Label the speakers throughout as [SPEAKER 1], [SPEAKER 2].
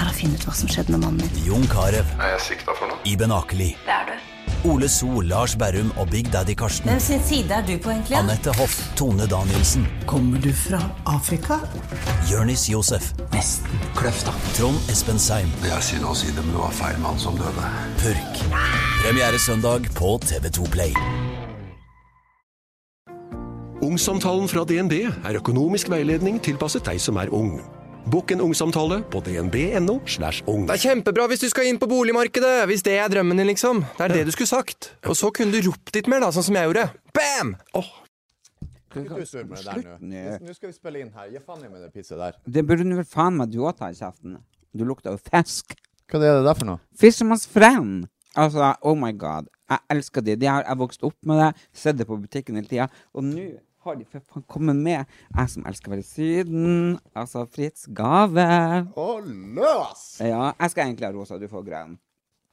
[SPEAKER 1] er å finne ut hva som skjedde med mannen min.
[SPEAKER 2] Jon Carew,
[SPEAKER 3] Er jeg sikta for noe?
[SPEAKER 2] Iben Akeli,
[SPEAKER 1] Det er du.
[SPEAKER 2] Ole So, Lars Berrum og Big Daddy Karsten.
[SPEAKER 4] Hvem sin side er du på, egentlig?
[SPEAKER 2] Anette Hoff, Tone Danielsen,
[SPEAKER 5] Kommer du fra Afrika?
[SPEAKER 2] Jørnis Josef,
[SPEAKER 5] Nesten. Kløfta.
[SPEAKER 2] Trond Espen Seim,
[SPEAKER 3] Jeg sier å si det, men det var feil mann som døde.
[SPEAKER 2] Purk. Premiere søndag på TV2 Play.
[SPEAKER 6] Ungsamtalen fra DNB er økonomisk veiledning tilpasset deg som er ung. Bokk en ungsamtale på dnb.no. slash ung.
[SPEAKER 7] Det er kjempebra hvis du skal inn på boligmarkedet, hvis det er drømmen din, liksom. Det er det du skulle sagt. Og så kunne du ropt litt mer, da, sånn som jeg gjorde. Bam!
[SPEAKER 8] Slutt å surre med det der nå. Nå- Nå skal vi spille inn her. Gi faen i med det pisset der.
[SPEAKER 9] Det burde du vel faen meg du òg ta i kjeften. Du lukter jo fisk.
[SPEAKER 8] Hva er det der for noe?
[SPEAKER 9] Fisherman's Friend! Altså, oh my god. Jeg elsker de. De har jeg vokst opp med det, sett det på butikken hele tida. Og nå har de for faen kommet med. Jeg som elsker å være i Syden. Altså, Fritz gave.
[SPEAKER 8] Å, løs!
[SPEAKER 9] Ja, jeg skal egentlig ha rosa. Du får grønn.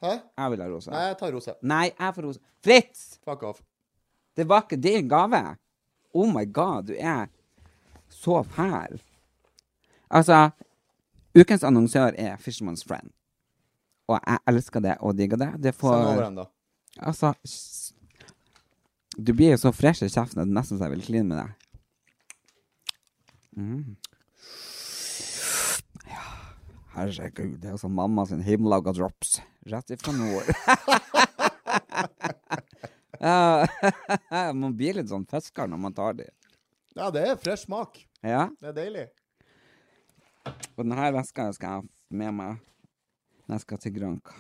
[SPEAKER 8] Hæ?
[SPEAKER 9] Jeg vil ha rosa.
[SPEAKER 8] Nei, jeg tar rose.
[SPEAKER 9] Nei, jeg får rosa. Fritz!
[SPEAKER 8] Fuck off.
[SPEAKER 9] Det var ikke din gave. Oh my god, du er så fæl. Altså, ukens annonsør er Fisherman's Friend. Og jeg elsker det og digger det. Det får
[SPEAKER 8] Send over den, da.
[SPEAKER 9] Altså s- Du blir jo så fresh i kjeften at det er nesten så jeg vil kline med deg. Mm. Ja, herregud, det er som mamma sin hjemmelaga drops. Rett ifra nord. Ja, man blir litt sånn fisker når man tar de.
[SPEAKER 8] Ja, det er fresh smak.
[SPEAKER 9] Ja,
[SPEAKER 8] Det er deilig.
[SPEAKER 9] og denne veska skal jeg ha med meg når jeg skal til Granca.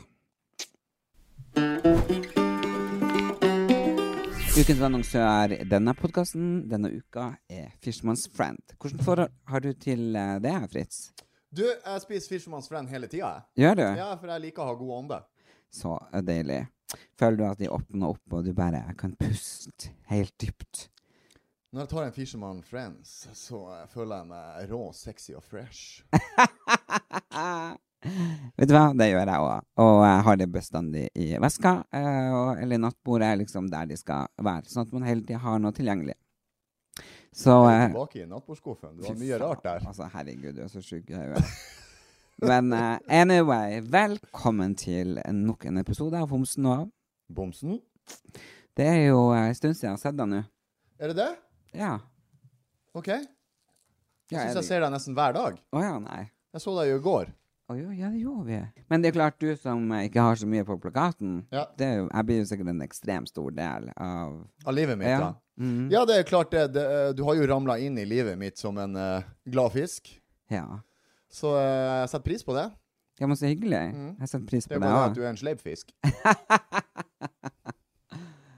[SPEAKER 9] Ukens annonsør i denne podkasten denne uka er Fishman's Friend. Hvilket forhold har du til eh, det, Fritz?
[SPEAKER 8] Du, jeg spiser Fisherman's Friend hele tida, jeg.
[SPEAKER 9] Gjør du?
[SPEAKER 8] Ja, for jeg liker å ha god ånde.
[SPEAKER 9] Så deilig. Føler du at de åpner opp, og du bare kan puste helt dypt?
[SPEAKER 8] Når jeg tar en Fisherman Friends, så eh, føler jeg meg rå, sexy og fresh.
[SPEAKER 9] Eh, Vet du hva, det gjør jeg òg. Og jeg har det bestandig i veska. eh, og- Eller nattbordet er liksom der de skal være. Sånn at man hele tida har noe tilgjengelig. Så
[SPEAKER 8] Jeg er
[SPEAKER 9] eh,
[SPEAKER 8] Tilbake i nattbordskuffen. Det var
[SPEAKER 9] fy
[SPEAKER 8] mye
[SPEAKER 9] faen,
[SPEAKER 8] rart der.
[SPEAKER 9] Altså, herregud, du er så sjuk i hodet. Men eh, anyway, velkommen til nok en episode av Homsen og
[SPEAKER 8] Bomsen?
[SPEAKER 9] Det er jo eh, en stund siden jeg har sett deg nå.
[SPEAKER 8] Er det det?
[SPEAKER 9] Ja.
[SPEAKER 8] OK. Jeg
[SPEAKER 9] Ja,
[SPEAKER 8] syns
[SPEAKER 9] er
[SPEAKER 8] jeg ser deg nesten hver dag.
[SPEAKER 9] Å ja, nei.
[SPEAKER 8] Jeg så deg jo i går.
[SPEAKER 9] Å jo, ja, det gjorde vi. Men det er klart, du som eh, ikke har så mye på plakaten
[SPEAKER 8] Ja.
[SPEAKER 9] det er jo, Jeg blir jo sikkert en ekstremt stor del av
[SPEAKER 8] Av livet mitt,
[SPEAKER 9] Ja.
[SPEAKER 8] ja. Mhm. Ja, det er klart det. det eh, du har jo ramla inn i livet mitt som en eh, glad fisk.
[SPEAKER 9] Ja.
[SPEAKER 8] Så eh, jeg setter pris på det.
[SPEAKER 9] Ja, men så hyggelig. Jeg setter pris
[SPEAKER 8] Mm. Det
[SPEAKER 9] på
[SPEAKER 8] er
[SPEAKER 9] det.
[SPEAKER 8] bare det at
[SPEAKER 9] også.
[SPEAKER 8] du er en sleip fisk.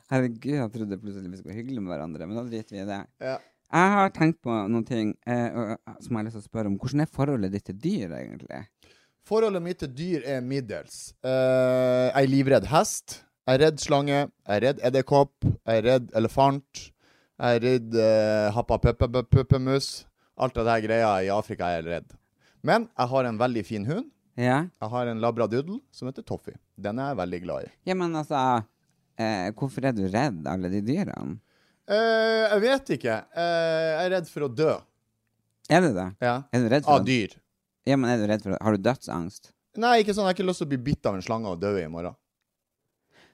[SPEAKER 9] Herregud, jeg trodde plutselig vi skulle være hyggelige med hverandre, men da driter vi i det.
[SPEAKER 8] Ja.
[SPEAKER 9] Jeg har tenkt på noen ting eh, og- og- som jeg har lyst til å spørre om. Hvordan er forholdet ditt til dyr, egentlig?
[SPEAKER 8] Forholdet mitt til dyr er middels. Eh, jeg er livredd hest. Jeg er redd slange. Jeg er redd edderkopp. Jeg er redd elefant. Jeg er redd uh, happapeppemus. Alt av det her greia i Afrika er jeg redd. Men jeg har en veldig fin hund.
[SPEAKER 9] Ja,
[SPEAKER 8] Jeg har en labradoodle som heter Toffee. Den er jeg veldig glad i.
[SPEAKER 9] ja men altså eh, Hvorfor er du redd alle de dyrene?
[SPEAKER 8] Eh, jeg vet ikke. Eh, jeg er redd for å dø.
[SPEAKER 9] Er du det?
[SPEAKER 8] Ja.
[SPEAKER 9] Er du redd for
[SPEAKER 8] Av
[SPEAKER 9] å-
[SPEAKER 8] dyr.
[SPEAKER 9] Ja, men er du redd for Har du dødsangst?
[SPEAKER 8] Nei, ikke sånn. Jeg har ikke lyst til å bli bitt av en slange og dø i morgen.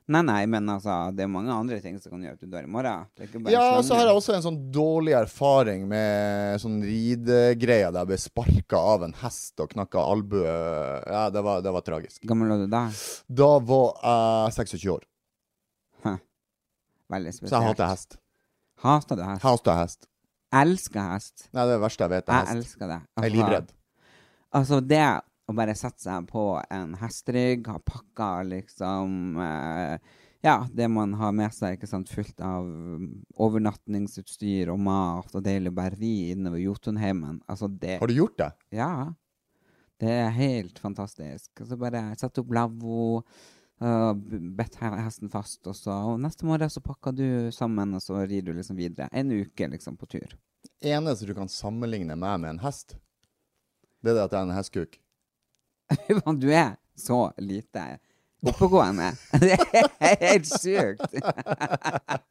[SPEAKER 9] Nei, nei, men altså, det er mange andre ting som kan gjøre at du dør i morgen. Det er ikke bare
[SPEAKER 8] Ja, så har jeg
[SPEAKER 9] slanger.
[SPEAKER 8] også en sånn dårlig erfaring med sånn ridegreier der jeg ble sparka av en hest og knakka albue. Ja, det var, det var tragisk.
[SPEAKER 9] Gammel var du da?
[SPEAKER 8] Da var jeg 26 år,
[SPEAKER 9] Veldig spesielt.
[SPEAKER 8] så jeg hater hest.
[SPEAKER 9] Hater du hest?
[SPEAKER 8] Hater hest.
[SPEAKER 9] Elsker hest.
[SPEAKER 8] Nei, det er det verste jeg vet, er
[SPEAKER 9] Jeg
[SPEAKER 8] hest.
[SPEAKER 9] elsker det.
[SPEAKER 8] Jeg er
[SPEAKER 9] Altså,
[SPEAKER 8] livredd.
[SPEAKER 9] Altså det å bare sette seg på en hesterygg, ha pakka liksom eh, Ja, det man har med seg, ikke sant, fullt av mm, overnatningsutstyr og mat og deilig å bare ri innover Jotunheimen. Altså det
[SPEAKER 8] Har du gjort det?
[SPEAKER 9] Ja. Det er helt fantastisk. Og så bare sette opp lavvo, eh, b- bedt he- hesten fast, og så og neste morgen så pakker du sammen, og så rir du liksom videre. En uke liksom på tur.
[SPEAKER 8] Eneste du kan sammenligne meg med en hest, det er det at jeg er en hestkuk.
[SPEAKER 9] Men du er så lite oppegående. Det er helt sjukt.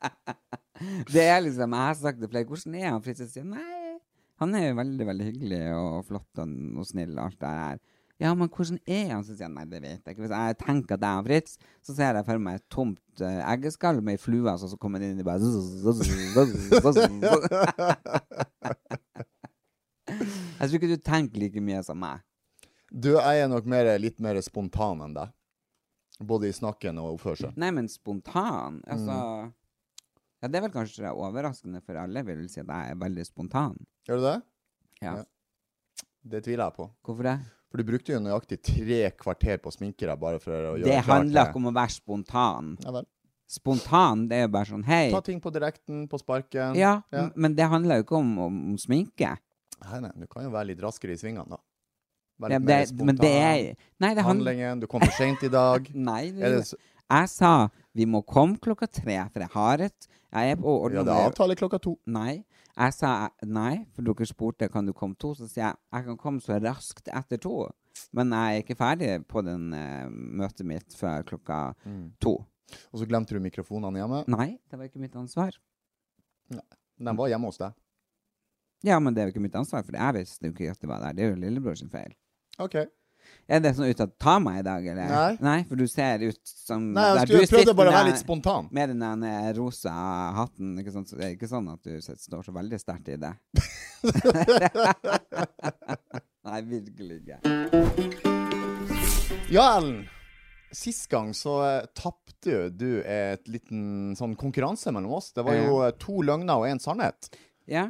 [SPEAKER 9] Det er liksom Jeg har sagt det flere. Hvordan er han, Fritz? Nei, han er jo veldig, veldig hyggelig og flott og, og snill og alt det der. Ja, men hvordan er han? Så sier han nei, det vet jeg ikke. Hvis jeg tenker at det er Fritz, så ser jeg for meg et tomt eh, eggeskall med ei flue, altså, så kommer den inn i bare Jeg tror ikke du tenker like mye som meg.
[SPEAKER 8] Du, jeg er nok mer, litt mer spontan enn deg. Både i snakken og oppførsel.
[SPEAKER 9] Nei, men spontan. Altså
[SPEAKER 8] Mm.
[SPEAKER 9] Ja, det er vel kanskje overraskende for alle, vil jeg si at jeg er veldig spontan.
[SPEAKER 8] Gjør du det?
[SPEAKER 9] Ja.
[SPEAKER 8] Ja. Det tviler jeg på.
[SPEAKER 9] Hvorfor det?
[SPEAKER 8] For du brukte jo nøyaktig tre kvarter på å sminke deg bare for å gjøre
[SPEAKER 9] Det
[SPEAKER 8] klart
[SPEAKER 9] handler ikke om å være spontan.
[SPEAKER 8] Ja vel.
[SPEAKER 9] Spontan, det er jo bare sånn hei.
[SPEAKER 8] Ta ting på direkten, på sparken.
[SPEAKER 9] Ja, m- men det handler jo ikke om, om, om sminke.
[SPEAKER 8] Nei, nei, du kan jo være litt raskere i svingene, da.
[SPEAKER 9] Ja, det, men det er Nei, det handler
[SPEAKER 8] Handlingen. Du kom for seint i dag.
[SPEAKER 9] Nei, det,
[SPEAKER 8] Er det så-
[SPEAKER 9] jeg sa vi må komme klokka tre, for jeg har et jeg er på, og,
[SPEAKER 8] Ja, det er avtale klokka to.
[SPEAKER 9] Nei. Jeg sa nei, for dere spurte kan du komme to. Så sier jeg jeg kan komme så raskt etter to. Men jeg er ikke ferdig på den eh, møtet mitt før klokka
[SPEAKER 8] Mm.
[SPEAKER 9] to.
[SPEAKER 8] Og så glemte du mikrofonene hjemme.
[SPEAKER 9] Nei, det var ikke mitt ansvar.
[SPEAKER 8] Den var hjemme hos deg.
[SPEAKER 9] Ja, men det er jo ikke mitt ansvar, for jeg visste jo ikke at det var der. Det er jo lillebror sin feil.
[SPEAKER 8] OK.
[SPEAKER 9] Mm, Er det sånn ut at ta meg i dag, eller?
[SPEAKER 8] Nei.
[SPEAKER 9] for du ser ut som
[SPEAKER 8] Nei,
[SPEAKER 9] der
[SPEAKER 8] jeg,
[SPEAKER 9] du
[SPEAKER 8] skulle, jeg prøvde
[SPEAKER 9] sitter
[SPEAKER 8] bare å
[SPEAKER 9] der-
[SPEAKER 8] være litt spontan.
[SPEAKER 9] Med den der eh, rosa hatten, ikke sant? Så det er ikke sånn at du s- står så veldig sterkt i det. Nei, virkelig ikke.
[SPEAKER 8] Ja, Ellen. Sist gang så eh, tapte jo du et liten sånn konkurranse mellom oss. Det var jo eh, to løgner og én sannhet.
[SPEAKER 9] Ja.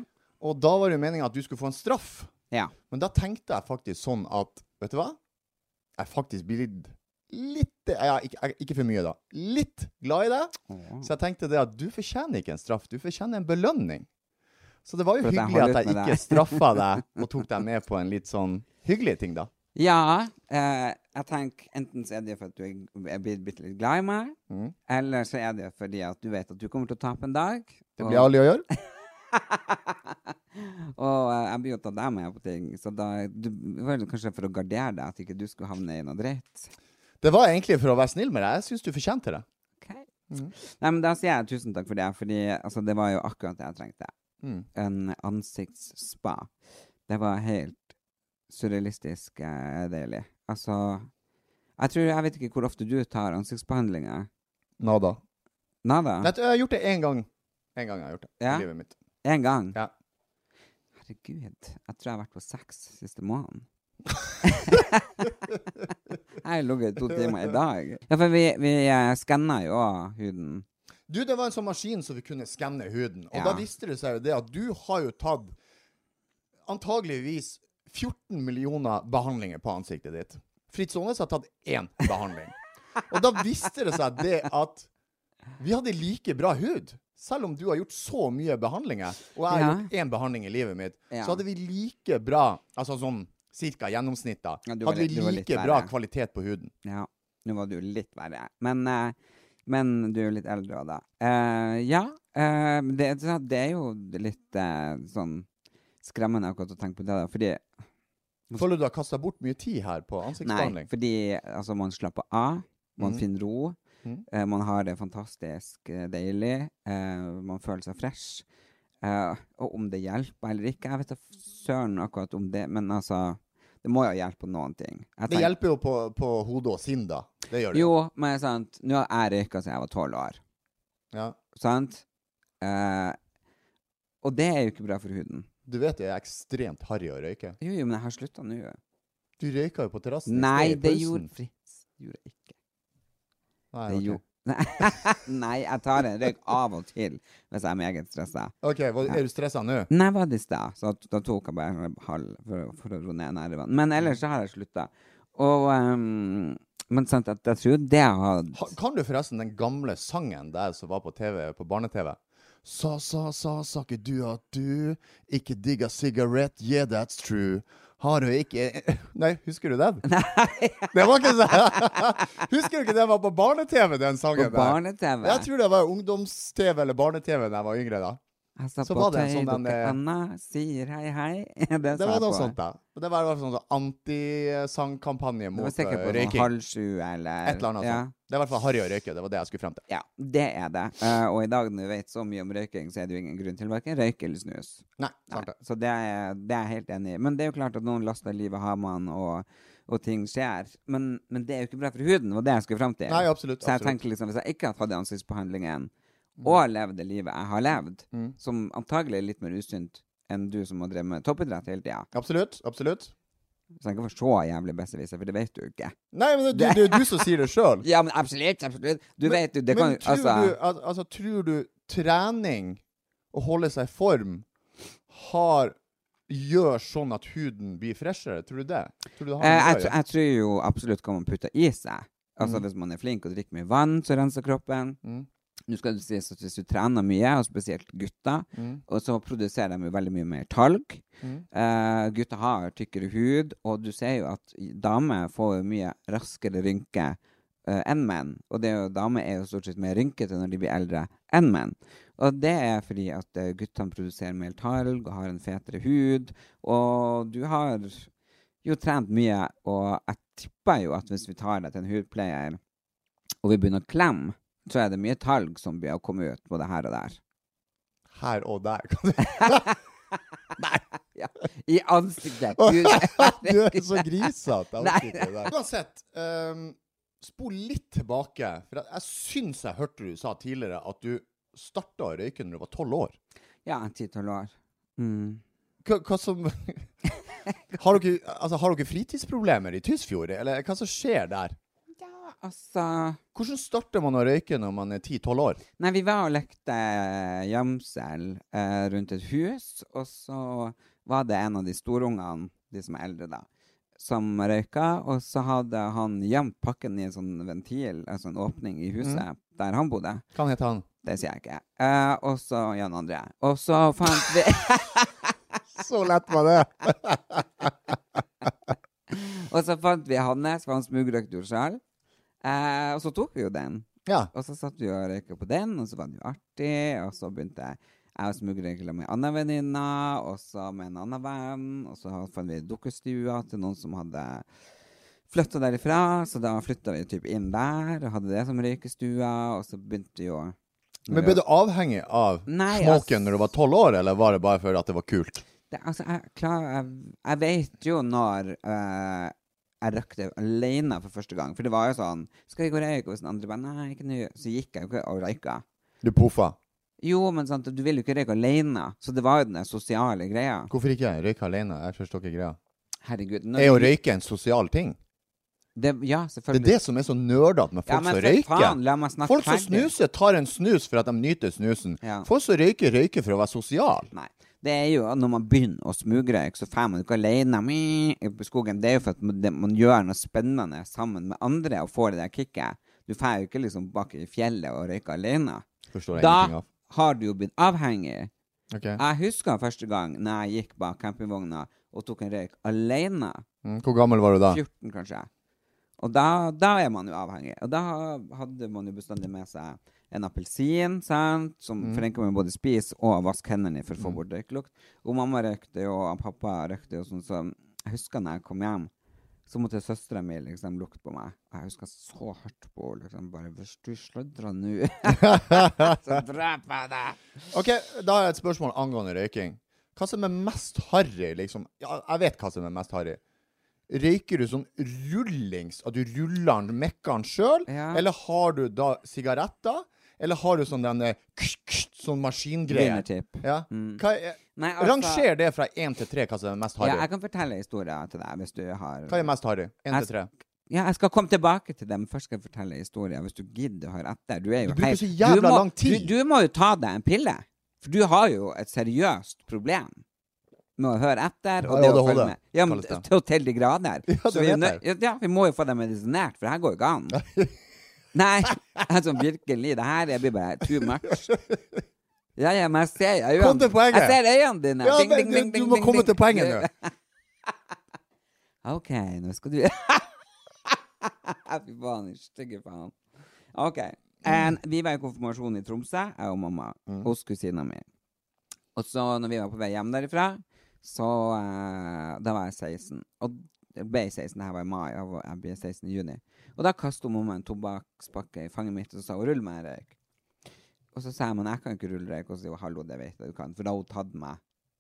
[SPEAKER 8] Og da var det jo meninga at du skulle få en straff.
[SPEAKER 9] Ja.
[SPEAKER 8] Men da tenkte jeg faktisk sånn at Vet du hva? Jeg faktisk blir litt Litt ja, ikke, jeg- ikke for mye, da. Litt glad i deg. Så jeg tenkte det at du fortjener ikke en straff, du fortjener en belønning. Så det var jo
[SPEAKER 9] For at jeg
[SPEAKER 8] hyggelig at
[SPEAKER 9] holder
[SPEAKER 8] jeg
[SPEAKER 9] ut med
[SPEAKER 8] ikke
[SPEAKER 9] deg.
[SPEAKER 8] straffa deg og tok deg med på en litt sånn hyggelig ting, da.
[SPEAKER 9] Ja, eh, jeg tenker enten så er det for at du er- er blitt bitte litt glad i meg,
[SPEAKER 8] Mm.
[SPEAKER 9] eller så er det fordi at du vet at du kommer til å tape en dag.
[SPEAKER 8] Det blir alle å gjøre.
[SPEAKER 9] Og eh, jeg blir jo tatt deg med på ting, så da du, det var jo kanskje for å gardere deg at ikke du skulle havne i noe dritt.
[SPEAKER 8] Det var egentlig for å være snill med deg. Jeg syns du fortjente det.
[SPEAKER 9] Ok.
[SPEAKER 8] Mm.
[SPEAKER 9] Nei, men da sier jeg tusen takk for det, fordi altså, det var jo akkurat det jeg trengte.
[SPEAKER 8] Mm.
[SPEAKER 9] En ansiktsspa. Det var helt surrealistisk eh, deilig. Altså, jeg tror, jeg vet ikke hvor ofte du tar ansiktsbehandlinger.
[SPEAKER 8] Nada.
[SPEAKER 9] Nada?
[SPEAKER 8] Nei, jeg har gjort det én gang. Én gang jeg har gjort det
[SPEAKER 9] Ja.
[SPEAKER 8] i livet mitt.
[SPEAKER 9] En gang?
[SPEAKER 8] Ja.
[SPEAKER 9] Herregud, jeg tror jeg har vært på seks siste måneden. jeg har ligget i to timer i dag. Ja, for vi, vi eh, skanner jo også huden.
[SPEAKER 8] Du, det var en sånn maskin som vi kunne skanne huden. Og
[SPEAKER 9] Ja.
[SPEAKER 8] da viste det seg jo det at du har jo tatt antageligvis 14 millioner behandlinger på ansiktet ditt. Fritz Aanes har tatt én behandling. Og da viste det seg det at vi hadde like bra hud. Selv om du har gjort så mye behandlinger, og jeg har
[SPEAKER 9] Ja.
[SPEAKER 8] gjort én behandling i livet mitt,
[SPEAKER 9] Ja.
[SPEAKER 8] så hadde vi like bra Altså sånn cirka gjennomsnitt, da.
[SPEAKER 9] Ja, du var
[SPEAKER 8] hadde
[SPEAKER 9] litt-
[SPEAKER 8] vi
[SPEAKER 9] du var litt
[SPEAKER 8] like bra
[SPEAKER 9] verre.
[SPEAKER 8] kvalitet på huden.
[SPEAKER 9] Ja, nå var du litt verre. Men, eh, men du er jo litt eldre også da. Eh, ja, eh, men det, det er jo litt eh, sånn skremmende akkurat å tenke på det, da, fordi
[SPEAKER 8] Føler du du har kasta bort mye tid her på ansiktsbehandling?
[SPEAKER 9] Nei, fordi altså, man slapper av, man
[SPEAKER 8] Mhm.
[SPEAKER 9] finner ro,
[SPEAKER 8] Mhm.
[SPEAKER 9] eh, man har det fantastisk eh, deilig, eh, man føler seg fresh. Eh, og om det hjelper eller ikke, jeg vet da f- søren akkurat om det, men altså, det må jo hjelpe på noen ting. Jeg
[SPEAKER 8] Det
[SPEAKER 9] tenker-
[SPEAKER 8] hjelper jo på, på hodet og sinn, da. Det gjør det.
[SPEAKER 9] Jo, men sant, nå har jeg røyka siden jeg var tolv år,
[SPEAKER 8] Ja.
[SPEAKER 9] sant? Eh, og det er jo ikke bra for huden.
[SPEAKER 8] Du vet jeg er ekstremt harry å røyke.
[SPEAKER 9] Jo, jo, men jeg har slutta nå.
[SPEAKER 8] Du røyka jo på terrassen. i
[SPEAKER 9] Nei,
[SPEAKER 8] sted i
[SPEAKER 9] det
[SPEAKER 8] pausen.
[SPEAKER 9] gjorde Fritz. Det gjorde jeg ikke.
[SPEAKER 8] Nei,
[SPEAKER 9] Det
[SPEAKER 8] ok.
[SPEAKER 9] gjorde- Nei, jeg tar en røyk av og til hvis jeg er meget stressa.
[SPEAKER 8] OK, hva, er du stressa nå?
[SPEAKER 9] Nei, var det i stad, så at- da tok jeg bare en halv for, å- for å roe ned nervene. Men ellers så har jeg slutta. Og ehm, Men sant, at jeg tror det har
[SPEAKER 8] Ha- Kan du forresten den gamle sangen der som var på TV, på barne-TV? Sa, sa, sa, sa ikke du at du ikke digga sigarett? Yeah, that's true. Har hun ikke Nei, husker du den? Det var ikke så Husker du ikke den var på barne-TV, den sangen
[SPEAKER 9] På barne-TV.
[SPEAKER 8] Jeg tror det var ungdoms-TV eller barne-TV da jeg var yngre, da.
[SPEAKER 9] Jeg sa
[SPEAKER 8] så
[SPEAKER 9] på
[SPEAKER 8] var det en
[SPEAKER 9] tøy,
[SPEAKER 8] sånn en,
[SPEAKER 9] dukker
[SPEAKER 8] eh,
[SPEAKER 9] Anna sier hei, hei. det
[SPEAKER 8] Det
[SPEAKER 9] sa
[SPEAKER 8] var
[SPEAKER 9] jeg
[SPEAKER 8] noe
[SPEAKER 9] på.
[SPEAKER 8] sånt, da. Og Det var i hvert fall sånn antisangkampanje
[SPEAKER 9] Det var
[SPEAKER 8] mot
[SPEAKER 9] sikkert
[SPEAKER 8] eh,
[SPEAKER 9] på sånn
[SPEAKER 8] røyking.
[SPEAKER 9] halv sju eller
[SPEAKER 8] Et eller annet
[SPEAKER 9] ja.
[SPEAKER 8] sånt. Det er i hvert fall Harry og røyke, det var det jeg skulle frem til.
[SPEAKER 9] Ja, det er det. Eh, og i dag når du vet så mye om røyking, så er det jo ingen grunn til verken røyk eller snus.
[SPEAKER 8] Nei,
[SPEAKER 9] Nei,
[SPEAKER 8] sant det.
[SPEAKER 9] så det er, det er jeg helt enig i. Men det er jo klart at noen laster livet har man, og, og ting skjer. Men, men det er jo ikke bra for huden, det var det jeg skulle fram til.
[SPEAKER 8] Nei, absolutt,
[SPEAKER 9] så jeg
[SPEAKER 8] absolutt. Mm.
[SPEAKER 9] tenker liksom, hvis jeg ikke hadde tatt den ansiktsbehandlingen, og levd det livet jeg har levd, som antagelig er litt mer usunt enn du som har drevet med toppidrett hele tida,
[SPEAKER 8] Absolutt. Absolutt.
[SPEAKER 9] så jeg kan få se jævlig besserwisser, for det vet du ikke.
[SPEAKER 8] Nei, men det, det er jo du som sier det sjøl.
[SPEAKER 9] Ja, men absolutt, absolutt. Du vet jo, det kan
[SPEAKER 8] men tror,
[SPEAKER 9] altså
[SPEAKER 8] du, al altså, tror du trening, å holde seg i form, har Gjør sånn at huden blir freshere? Tror du det? Tror du det har
[SPEAKER 9] Eh,
[SPEAKER 8] noe å
[SPEAKER 9] jeg, tr-
[SPEAKER 8] gjøre? Mm.
[SPEAKER 9] jeg tror jo absolutt hva man putter i seg. Altså Hvis man er flink og drikker mye vann, så renser kroppen. Nå skal det sies at Hvis du trener mye, og spesielt gutter,
[SPEAKER 8] Mm.
[SPEAKER 9] og så produserer de jo veldig mye mer talg. Eh, gutter har tykkere hud, og du ser jo at i- damer får jo mye raskere rynker eh, enn menn. Og det er jo, damer er jo stort sett mer rynkete når de blir eldre enn menn. Og det er fordi at eh, guttene produserer mer talg og har en fetere hud, og du har jo trent mye, og jeg tipper jo at hvis vi tar deg til en hudpleier, og vi begynner å klemme, så er det mye talg som blir å komme ut både her og der.
[SPEAKER 8] Her og der. Kan du
[SPEAKER 9] Ja, I ansiktet! Gud,
[SPEAKER 8] du er så grisete.
[SPEAKER 9] Nei.
[SPEAKER 8] Uansett, ehm, spol litt tilbake. For jeg, jeg syns jeg hørte du sa tidligere at du starta å røyke når du var tolv år.
[SPEAKER 9] ja, 10-12 år. Mm.
[SPEAKER 8] Hva, hva som har, dere, altså, har dere fritidsproblemer i Tysfjord, eller hva som skjer der?
[SPEAKER 9] Altså
[SPEAKER 8] Hvordan starter man å røyke når man er 10-12 år?
[SPEAKER 9] Nei, vi var og lekte gjemsel eh, rundt et hus, og så var det en av de storungene, de som er eldre da, som røyka, og så hadde han gjemt pakken i en sånn ventil, altså en åpning i
[SPEAKER 8] Mm.
[SPEAKER 9] huset der han bodde.
[SPEAKER 8] Hva heter han?
[SPEAKER 9] Det sier jeg ikke. Eh, og så Jan André. Og så fant vi
[SPEAKER 8] Så lett var det.
[SPEAKER 9] Og så fant vi Hannes, for han smugrøykte jo sjøl. Eh, og så tok vi jo den.
[SPEAKER 8] Ja.
[SPEAKER 9] Og så satt vi og røyka på den, og så var det jo artig. Og så begynte jeg å smugrøyke med ei anna venninne, og så med en annen venn. Og så fant vi dukkestua til noen som hadde flytta derifra, så da flytta vi typ inn der og hadde det som røykestua, og så begynte vi jo
[SPEAKER 8] Men ble du avhengig av
[SPEAKER 9] Nei, ass.
[SPEAKER 8] smoken når du var 12 år, eller var det bare for at det var kult?
[SPEAKER 9] det, altså, jeg, klar, jeg, jeg vet jo når eh, jeg røykte alene for første gang. For det var jo sånn Skal vi gå og røyke? Og hvis den andre bare Nei, ikke nå. Så gikk jeg jo ikke og røyka.
[SPEAKER 8] Du poffa.
[SPEAKER 9] Jo, men sant, du vil jo ikke røyke alene. Så det var jo den der sosiale greia.
[SPEAKER 8] Hvorfor ikke røyke alene? Jeg forstår ikke greia.
[SPEAKER 9] Herregud. når
[SPEAKER 8] Er å
[SPEAKER 9] du-
[SPEAKER 8] røyke en sosial ting?
[SPEAKER 9] det, Ja,
[SPEAKER 8] Det
[SPEAKER 9] selvfølgelig.
[SPEAKER 8] er det som er så nerdete med
[SPEAKER 9] Ja,
[SPEAKER 8] folk
[SPEAKER 9] men
[SPEAKER 8] som
[SPEAKER 9] for
[SPEAKER 8] røyker.
[SPEAKER 9] faen, la meg snakke
[SPEAKER 8] folk som
[SPEAKER 9] ferdig.
[SPEAKER 8] snuser, tar en snus for at de nyter snusen.
[SPEAKER 9] Ja.
[SPEAKER 8] Folk som røyker, røyker for å være sosial.
[SPEAKER 9] Nei. Det er jo at når man begynner å smugrøyke, så drar man jo ikke alene mi, i skogen. Det er jo for at man, det, man gjør noe spennende sammen med andre og får det der kicket. Du drar jo ikke liksom bak i fjellet og røyker alene.
[SPEAKER 8] Forstår jeg ingenting
[SPEAKER 9] Da
[SPEAKER 8] av.
[SPEAKER 9] har du jo blitt avhengig.
[SPEAKER 8] Ok.
[SPEAKER 9] Jeg husker første gang når jeg gikk bak campingvogna og tok en røyk alene.
[SPEAKER 8] Mm, Hvor gammel var du da?
[SPEAKER 9] 14, kanskje. Og da, da er man jo avhengig. Og da hadde man jo bestandig med seg en appelsin, sant, som forenkler man både spise og vaske hendene i for å få bort røyklukt. Og mamma røykte jo, og pappa røykte jo sånn, så jeg husker når jeg kom hjem, så måtte søstera mi liksom lukte på meg. Og jeg husker så hardt på henne, liksom bare Hvis du sladrer nå, så dreper jeg deg!
[SPEAKER 8] Ok, Da har jeg et spørsmål angående røyking. Hva som er mest harry, liksom? Ja, jeg vet hva som er mest harry. Røyker du sånn rullings, at du ruller den, mekker den sjøl?
[SPEAKER 9] Ja.
[SPEAKER 8] Eller har du da sigaretter? Eller har du sånn den sånn maskingreie?
[SPEAKER 9] Vinnertipp.
[SPEAKER 8] Ja. Hva er,
[SPEAKER 9] Nei, altså-
[SPEAKER 8] Ranger det fra én til tre hva som er mest
[SPEAKER 9] Ja,
[SPEAKER 8] harry.
[SPEAKER 9] jeg kan fortelle historier til deg hvis du har
[SPEAKER 8] Hva er mest harry? Én til
[SPEAKER 9] Jeg
[SPEAKER 8] tre?
[SPEAKER 9] Ja, jeg skal komme tilbake til det, men først skal jeg fortelle historien. Hvis du gidder å høre etter. Du, er jo
[SPEAKER 8] Du bruker
[SPEAKER 9] helt-
[SPEAKER 8] så jævla
[SPEAKER 9] du må,
[SPEAKER 8] lang tid.
[SPEAKER 9] Du, du må jo ta deg en pille. For du har jo et seriøst problem med å høre etter. Og
[SPEAKER 8] Ja,
[SPEAKER 9] det å
[SPEAKER 8] ADHD
[SPEAKER 9] følge med. Ja, men
[SPEAKER 8] kalles det.
[SPEAKER 9] til, til de grader.
[SPEAKER 8] Ja,
[SPEAKER 9] Så
[SPEAKER 8] det
[SPEAKER 9] vi, er
[SPEAKER 8] vet
[SPEAKER 9] nø- ja, vi må jo få deg medisinert, for det her går jo ikke an. Nei, altså virkelig. Det her jeg blir bare too much. Ja, ja, men jeg ser
[SPEAKER 8] Kom til
[SPEAKER 9] øynene
[SPEAKER 8] poenget.
[SPEAKER 9] Jeg ser øynene dine.
[SPEAKER 8] Ja,
[SPEAKER 9] Ding,
[SPEAKER 8] men
[SPEAKER 9] ding, ding,
[SPEAKER 8] du- du
[SPEAKER 9] ding,
[SPEAKER 8] må
[SPEAKER 9] ding,
[SPEAKER 8] komme
[SPEAKER 9] ding.
[SPEAKER 8] til poenget nå.
[SPEAKER 9] OK, nå skal du Fy faen, din stygge faen. OK. En, vi var i konfirmasjon i Tromsø, jeg og mamma, hos kusina mi. Og så, når vi var på vei hjem derifra, så eh, Da var jeg 16. Og jeg ble 16, det her var i mai, jeg, var, jeg ble 16 i juni. Og da kastet mamma en tobakkspakke i fanget mitt og så sa hun 'rull meg en røyk'. Og så sa jeg men jeg kan ikke rulle røyk. Og så sa hun 'hallo, det vet jeg du kan'. For da har hun tatt meg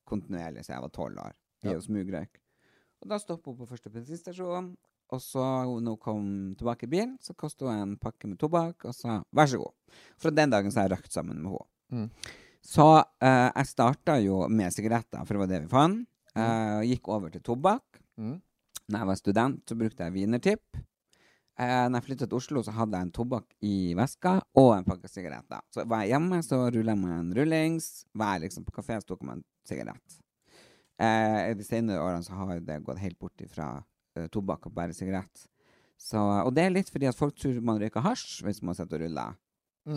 [SPEAKER 9] kontinuerlig siden jeg var 12 år. I å smugrøyke. Og da stoppa hun på første bensinstasjon. Og så, når hun kom tilbake i bilen, så kastet hun en pakke med tobakk og sa 'vær så god'. Fra den dagen så har jeg røykt sammen med henne. Så eh, jeg starta jo med sigaretter, for det var det vi fant. Eh, og gikk over til tobakk.
[SPEAKER 8] Mm.
[SPEAKER 9] Når jeg var student, så brukte jeg wienertipp. Uh, når jeg flytta til Oslo, så hadde jeg en tobakk i veska og en pakke sigaretter. Så var jeg hjemme, så rulla jeg meg en rullings. Var jeg liksom på kafé, så tok jeg meg en sigarett. Eh, I de senere årene så har det gått helt bort ifra eh, tobakk og bare sigarett. Så, og det er litt fordi at folk tror man røyker hasj hvis man sitter og ruller.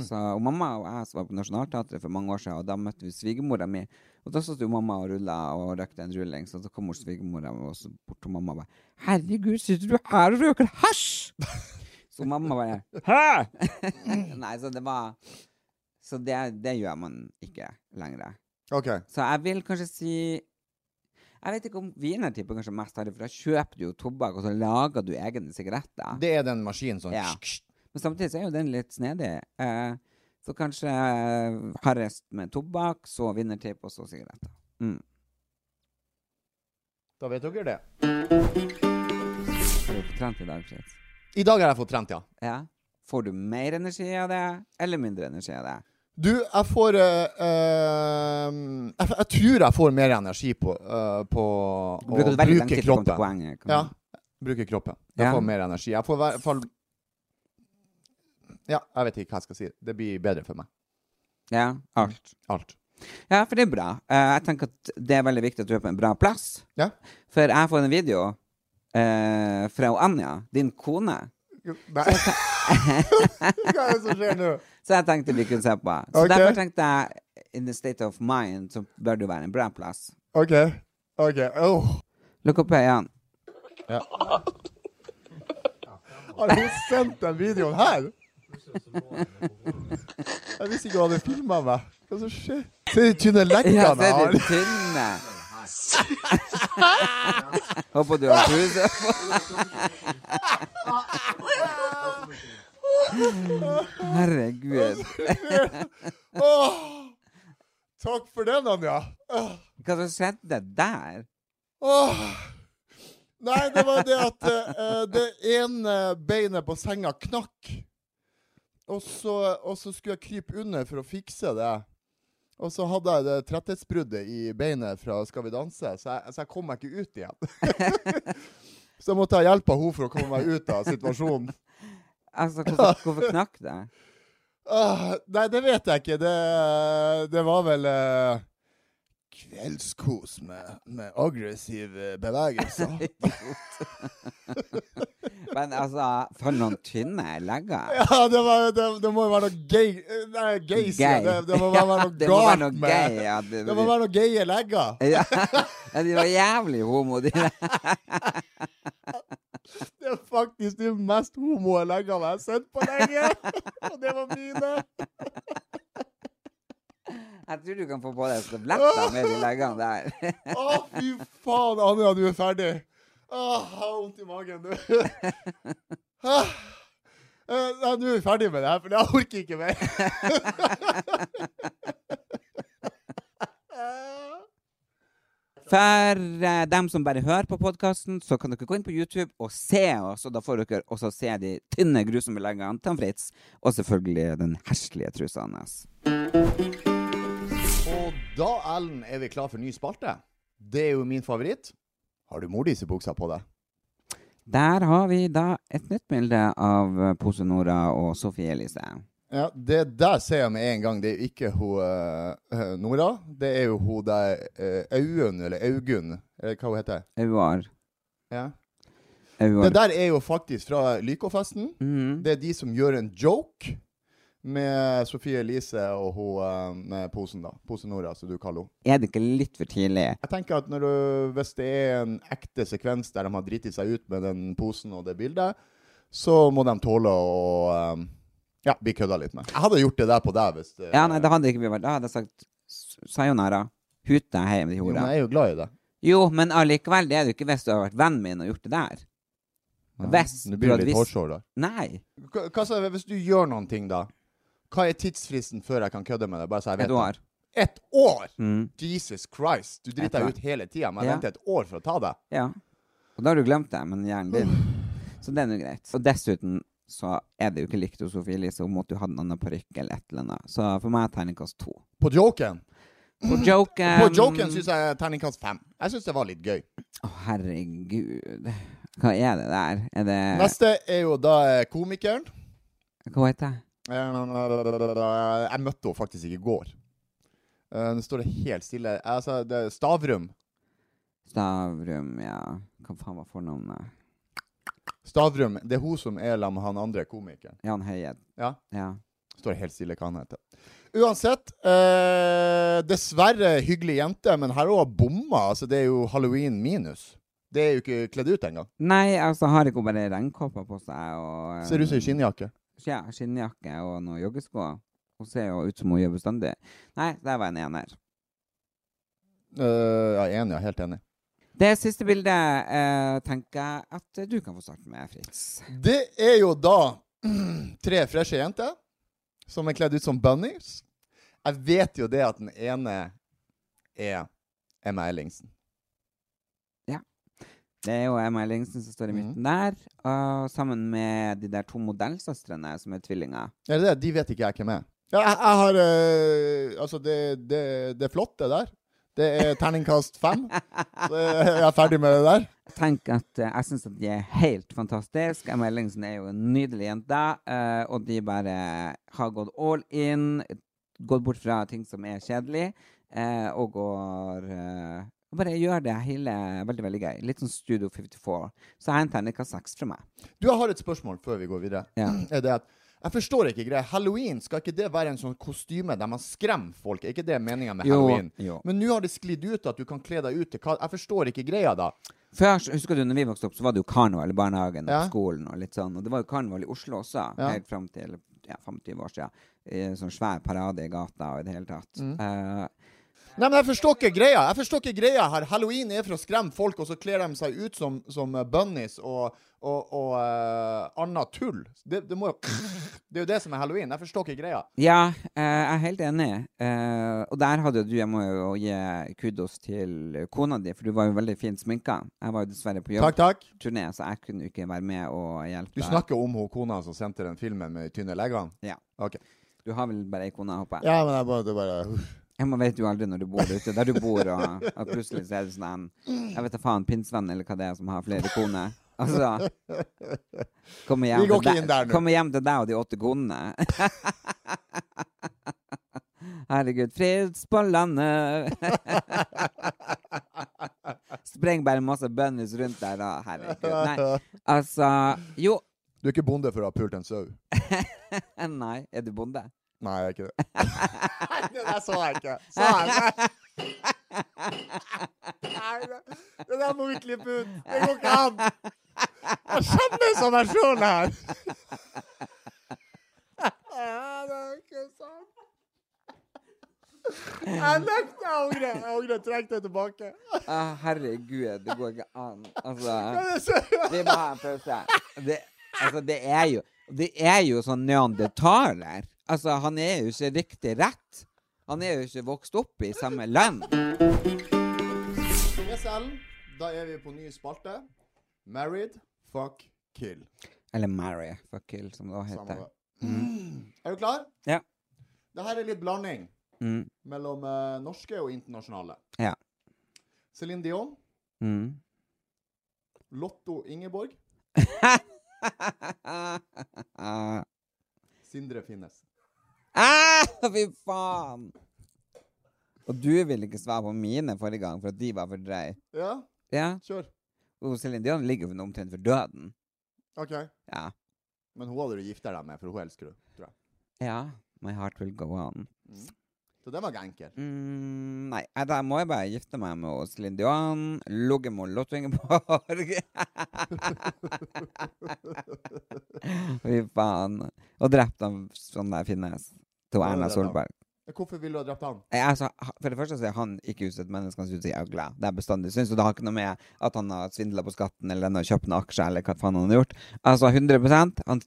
[SPEAKER 9] Så, og mamma og jeg som var på Nationaltheatret for mange år siden, og da møtte vi svigermora mi. Og da satt jo mamma og rulla og røykte en rullings, og så kom hun svigermora og så bort til mamma og bare 'Herregud, sitter du her og røyker hasj?' så mamma bare 'Hæ?' Nei, så det var Så det, det gjør man ikke lenger.
[SPEAKER 8] OK.
[SPEAKER 9] Så jeg vil kanskje si Jeg vet ikke om wienertippen kanskje mest har det, for da kjøper du jo tobakk, og så lager du egne sigaretter.
[SPEAKER 8] Det er den maskinen som
[SPEAKER 9] Ja. Men samtidig så er jo den litt snedig. Eh, så kanskje eh, Harrest med tobakk, så vinnertipp, og så sigaretter. Mm.
[SPEAKER 8] Da vet dere det.
[SPEAKER 9] Har du fått trent i dag, Fritz?
[SPEAKER 8] I dag har jeg fått trent, ja.
[SPEAKER 9] Ja. Får du mer energi av det, eller mindre energi av det?
[SPEAKER 8] Du, jeg får eh, eh, jeg, jeg tror jeg får mer energi på, eh, på
[SPEAKER 9] Du
[SPEAKER 8] å
[SPEAKER 9] bruker veldig lang
[SPEAKER 8] bruke
[SPEAKER 9] tid på å komme til
[SPEAKER 8] kroppen.
[SPEAKER 9] poenget. kan
[SPEAKER 8] Ja.
[SPEAKER 9] man-
[SPEAKER 8] Bruke kroppen. Jeg
[SPEAKER 9] Ja.
[SPEAKER 8] får mer energi. Jeg får i hvert fall Ja, jeg vet ikke hva jeg skal si. Det blir bedre for meg.
[SPEAKER 9] ja. Alt.
[SPEAKER 8] Alt.
[SPEAKER 9] Ja, for det er bra. Eh, jeg tenker at det er veldig viktig at du er på en bra plass.
[SPEAKER 8] Ja.
[SPEAKER 9] For jeg får en video eh, fra Anja, din kone,
[SPEAKER 8] Nei Hva er det som skjer nå?
[SPEAKER 9] så jeg tenkte vi kunne se på. Så
[SPEAKER 8] Ok.
[SPEAKER 9] derfor tenkte jeg In the state of mind så bør du være en bra plass.
[SPEAKER 8] OK. OK. Åh.
[SPEAKER 9] Lukk opp øynene.
[SPEAKER 8] Har hun sendt den videoen her? Jeg visste ikke hun hadde filma meg. Hva som skjer? Se de tynne
[SPEAKER 9] Ja,
[SPEAKER 8] lekkene
[SPEAKER 9] se
[SPEAKER 8] jeg
[SPEAKER 9] de
[SPEAKER 8] har.
[SPEAKER 9] tynne. Håper du har truse på. Herregud.
[SPEAKER 8] Åh. Takk for den, Anja. Åh.
[SPEAKER 9] Hva som skjedde der?
[SPEAKER 8] Åh. Nei, det var det at eh, det ene beinet på senga knakk. Og så, og så skulle jeg krype under for å fikse det. Og så hadde jeg det tretthetsbruddet i beinet fra Skal vi danse, så jeg, så jeg kom meg ikke ut igjen. så jeg måtte ha hjelp av henne for å komme meg ut av situasjonen.
[SPEAKER 9] Altså, hvorfor, hvorfor knakk det?
[SPEAKER 8] Åh, nei, det vet jeg ikke. Det, det var vel eh, Kveldskos med, med aggressive bevegelser.
[SPEAKER 9] Men altså, for noen tynne legger.
[SPEAKER 8] Ja, det, var, det, det må jo være noe gay Nei, gay, sier jeg. Det, det må være noe
[SPEAKER 9] det må være
[SPEAKER 8] galt
[SPEAKER 9] noe
[SPEAKER 8] med
[SPEAKER 9] gay. Ja, det,
[SPEAKER 8] Det må være noe gaye legger.
[SPEAKER 9] ja. Ja, de var jævlig homo, de der.
[SPEAKER 8] Det er faktisk de mest homoe leggene jeg har sett på lenge! Og det var mine.
[SPEAKER 9] Jeg tror du kan få på deg støvletter med de leggene der.
[SPEAKER 8] Å, fy faen, Anja, du er ferdig. Åh, jeg har vondt i magen, du. Ah. Eh, Nei, nå er vi ferdig med det her, for jeg orker ikke mer. Eh.
[SPEAKER 9] For eh, dem som bare hører på podkasten, så kan dere gå inn på YouTube og se oss. Og da får dere også se de tynne, grusomme leggene til han Fritz. Og selvfølgelig den herslige trusa hans.
[SPEAKER 8] Og da, Ellen, er vi klar for ny spalte. Det er jo min favoritt. Har du mordisebuksa på deg?
[SPEAKER 9] Der har vi da et nytt bilde av eh, Pose Nora og Sofie Elise.
[SPEAKER 8] Ja, det der ser jeg med en gang. Det er jo ikke hun eh, Nora. Det er jo hun der eh, Aun, eller Augunn, eller hva hun heter.
[SPEAKER 9] Auar.
[SPEAKER 8] Ja. Det
[SPEAKER 9] Auar.
[SPEAKER 8] der er jo faktisk fra Lykofesten.
[SPEAKER 9] Mhm.
[SPEAKER 8] Det er de som gjør en joke med Sofie Elise og hun eh, med posen, da. Pose Nora, som du kaller henne.
[SPEAKER 9] Er det ikke litt for tidlig?
[SPEAKER 8] Jeg tenker at når du, Hvis det er en ekte sekvens der de har driti seg ut med den posen og det bildet, så må de tåle å eh, ja, bli kødda litt med. Jeg hadde gjort det der på deg hvis det,
[SPEAKER 9] Ja, nei, det hadde ikke vi vært. Da hadde jeg sagt s- sayonara. Hut deg hjem til
[SPEAKER 8] Jo, men
[SPEAKER 9] hora.
[SPEAKER 8] jeg er jo glad i det.
[SPEAKER 9] Jo, men allikevel, det er du ikke hvis du har vært vennen min og gjort det der. Hvis
[SPEAKER 8] Nå
[SPEAKER 9] du
[SPEAKER 8] blir
[SPEAKER 9] hadde
[SPEAKER 8] det litt
[SPEAKER 9] visst-
[SPEAKER 8] hårsår der.
[SPEAKER 9] Nei.
[SPEAKER 8] Hva- Hva sa jeg, hvis du gjør noen ting, da? Hva er tidsfristen før jeg kan kødde med det? Bare så jeg vet
[SPEAKER 9] Et år.
[SPEAKER 8] det. Et år!
[SPEAKER 9] Mm.
[SPEAKER 8] Jesus Christ. Du
[SPEAKER 9] Et
[SPEAKER 8] driter
[SPEAKER 9] år.
[SPEAKER 8] deg ut hele tida, men jeg
[SPEAKER 9] Ja.
[SPEAKER 8] venter et år for å ta det.
[SPEAKER 9] Ja. Og da har du glemt det, men hjernen din. Så det er nå greit. Og dessuten så er det jo ikke likt hos Sofie Elise. Hun måtte jo ha en annen parykk eller et eller annet. Så for meg er terningkast to.
[SPEAKER 8] På joken.
[SPEAKER 9] På joken
[SPEAKER 8] Mm. På joken syns jeg terningkast fem. Jeg syns det var litt gøy.
[SPEAKER 9] Å, herregud. Hva er det der? Er det
[SPEAKER 8] Neste er jo da eh, komikeren.
[SPEAKER 9] Hva heter jeg?
[SPEAKER 8] Eh, Jeg møtte henne faktisk ikke i går. Eh, Nå står det helt stille. Altså, det er Stavrum.
[SPEAKER 9] Stavrum, ja. Hva faen var fornavnet?
[SPEAKER 8] Stavrum, Det er hun som er sammen med han andre komikeren.
[SPEAKER 9] Jan Høie.
[SPEAKER 8] Ja,
[SPEAKER 9] Ja.
[SPEAKER 8] Står helt stille hva han heter. Uansett, eh, dessverre hyggelig jente, men her òg bomma. Altså, det er jo halloween minus. Det er jo ikke kledd ut engang.
[SPEAKER 9] Nei, altså har ikke hun bare regnkåpa på seg og eh,
[SPEAKER 8] Ser ut som ei skinnjakke.
[SPEAKER 9] ja, skinnjakke og noen joggesko? Hun ser jo ut som hun gjør bestandig. Nei, der var en ener.
[SPEAKER 8] Eh, ja, enig, ja, helt enig.
[SPEAKER 9] Det siste bildet eh, tenker jeg at du kan få starte med, Fritz.
[SPEAKER 8] Det er jo da tre freshe jenter som er kledd ut som bunnies. Jeg vet jo det at den ene er Emma Ellingsen.
[SPEAKER 9] Det er jo Emma Ellingsen som
[SPEAKER 8] Mhm.
[SPEAKER 9] står i midten der, og sammen med de der to modellsøstrene som er tvillinger.
[SPEAKER 8] Er det det? De vet ikke jeg hvem er. Ja, jeg, jeg har eh, Altså, det, det, det er flott, det der. Det er terningkast fem. Så jeg er ferdig med det der.
[SPEAKER 9] Tenk at eh, Jeg syns at de er helt fantastiske. Emma Ellingsen er jo en nydelig jente, eh, og de bare har gått all in, gått bort fra ting som er kjedelig, eh, og går eh, og bare gjør det hele veldig, veldig gøy. Litt sånn Studio 54. Så jeg henter ikke seks fra meg.
[SPEAKER 8] Du, jeg har et spørsmål før vi går videre.
[SPEAKER 9] Ja.
[SPEAKER 8] Er det at jeg forstår ikke greia. Halloween, skal ikke det være en sånn kostyme der man skremmer folk? Er ikke det meninga med
[SPEAKER 9] Jo,
[SPEAKER 8] halloween?
[SPEAKER 9] jo.
[SPEAKER 8] Men nå har det sklidd ut at du kan kle deg ut til hva Jeg forstår ikke greia, da.
[SPEAKER 9] Før, så- husker du, når vi vokste opp, så var det jo karneval i barnehagen og
[SPEAKER 8] Ja.
[SPEAKER 9] på skolen. Og litt sånn, og det var jo karneval i Oslo også,
[SPEAKER 8] Ja.
[SPEAKER 9] helt fram til ja, 25 år siden. Eh, Sånn svær parade i gata og i det hele tatt.
[SPEAKER 8] Mm.
[SPEAKER 9] Eh,
[SPEAKER 8] Nei, men jeg forstår ikke greia. Jeg forstår ikke greia her. Halloween er for å skremme folk, og så kler de seg ut som, som eh, bunnies og, og, og eh, annet tull. Det, det må jo Det er jo det som er halloween. Jeg forstår ikke greia.
[SPEAKER 9] ja, eh, jeg er helt enig. Eh, og der hadde jo du, jeg må jo gi kudos til kona di, for du var jo veldig fint sminka. Jeg var jo dessverre på
[SPEAKER 8] Takk, takk.
[SPEAKER 9] jobbturné, så jeg kunne jo ikke være med og hjelpe
[SPEAKER 8] Du
[SPEAKER 9] deg.
[SPEAKER 8] snakker om hun kona som sendte den filmen med de tynne leggene?
[SPEAKER 9] Ja.
[SPEAKER 8] Ok.
[SPEAKER 9] Du har vel bare ei kone, håper jeg.
[SPEAKER 8] Ja, men jeg bare, det bare
[SPEAKER 9] Jeg må vet jo aldri når du bor ute der du bor, og, og plutselig så er det sånn en Jeg vet da faen, pinnsvenn eller hva det er som har flere koner. Altså Kommer hjem,
[SPEAKER 8] Vi går
[SPEAKER 9] til
[SPEAKER 8] ikke
[SPEAKER 9] deg-
[SPEAKER 8] inn der nå.
[SPEAKER 9] kommer hjem til deg og de åtte konene. Herregud. Fritz på landet. Spreng bare masse bønner rundt der, da. Herregud. Nei. Altså Jo.
[SPEAKER 8] Du er ikke bonde for å ha pult en sau?
[SPEAKER 9] Nei. Er du bonde?
[SPEAKER 8] Nei, jeg er ikke det. det der så jeg ikke. Så jeg ikke. Nei, det- Det der må vi klippe ut. Det går ikke an. Jeg skjemmes av meg sjøl her. Ja, det er ikke sant. Jeg nekter å angre. Jeg angrer. Trekk det tilbake.
[SPEAKER 9] Å, Ah, herregud. Det går ikke an. Altså
[SPEAKER 8] Det er så-
[SPEAKER 9] Vi må ha en pause. Det, altså, det er jo Det er jo sånn neandertaler. Altså, han er jo ikke riktig rett. Han er jo ikke vokst opp i samme land.
[SPEAKER 8] Yes, Ellen. Da er vi på ny spalte. Married, fuck, kill.
[SPEAKER 9] Eller Mary Fuckill, som det også
[SPEAKER 8] Samme
[SPEAKER 9] heter.
[SPEAKER 8] det. Er du klar?
[SPEAKER 9] Ja.
[SPEAKER 8] Det her er litt blanding
[SPEAKER 9] Mm,
[SPEAKER 8] mellom eh, norske og internasjonale.
[SPEAKER 9] Ja.
[SPEAKER 8] Céline Dion,
[SPEAKER 9] mm.
[SPEAKER 8] Lotto Ingeborg,
[SPEAKER 9] Ah,
[SPEAKER 8] Sindre Finnes.
[SPEAKER 9] fy faen! Og du ville ikke svare på mine forrige gang, for at de var for drøye.
[SPEAKER 8] Ja,
[SPEAKER 9] Ja.
[SPEAKER 8] kjør.
[SPEAKER 9] Og Céline Dion ligger jo omtrent for døden.
[SPEAKER 8] OK.
[SPEAKER 9] Ja.
[SPEAKER 8] Men hun hadde du gifta deg med, for hun elsker du, tror jeg.
[SPEAKER 9] Ja. My heart will go on.
[SPEAKER 8] Så den var ikke enkel.
[SPEAKER 9] Mm, nei, eh, da må jeg bare gifte meg med Åslind Johan. Ligge med Lotvingeborg. Fy faen. Og drept av sånn der finnes. To
[SPEAKER 8] Ja,
[SPEAKER 9] Erna
[SPEAKER 8] det er bra.
[SPEAKER 9] Solberg.
[SPEAKER 8] Hvorfor ville du ha drept han?
[SPEAKER 9] Eh, Altså, ha- for det første så er han ikke usett menneske, han ser ut som jævla. Det er bestandig syns, og det har ikke noe med at han har svindla på skatten eller han har kjøpt noen aksjer eller hva faen han har gjort. Altså 100 Han, han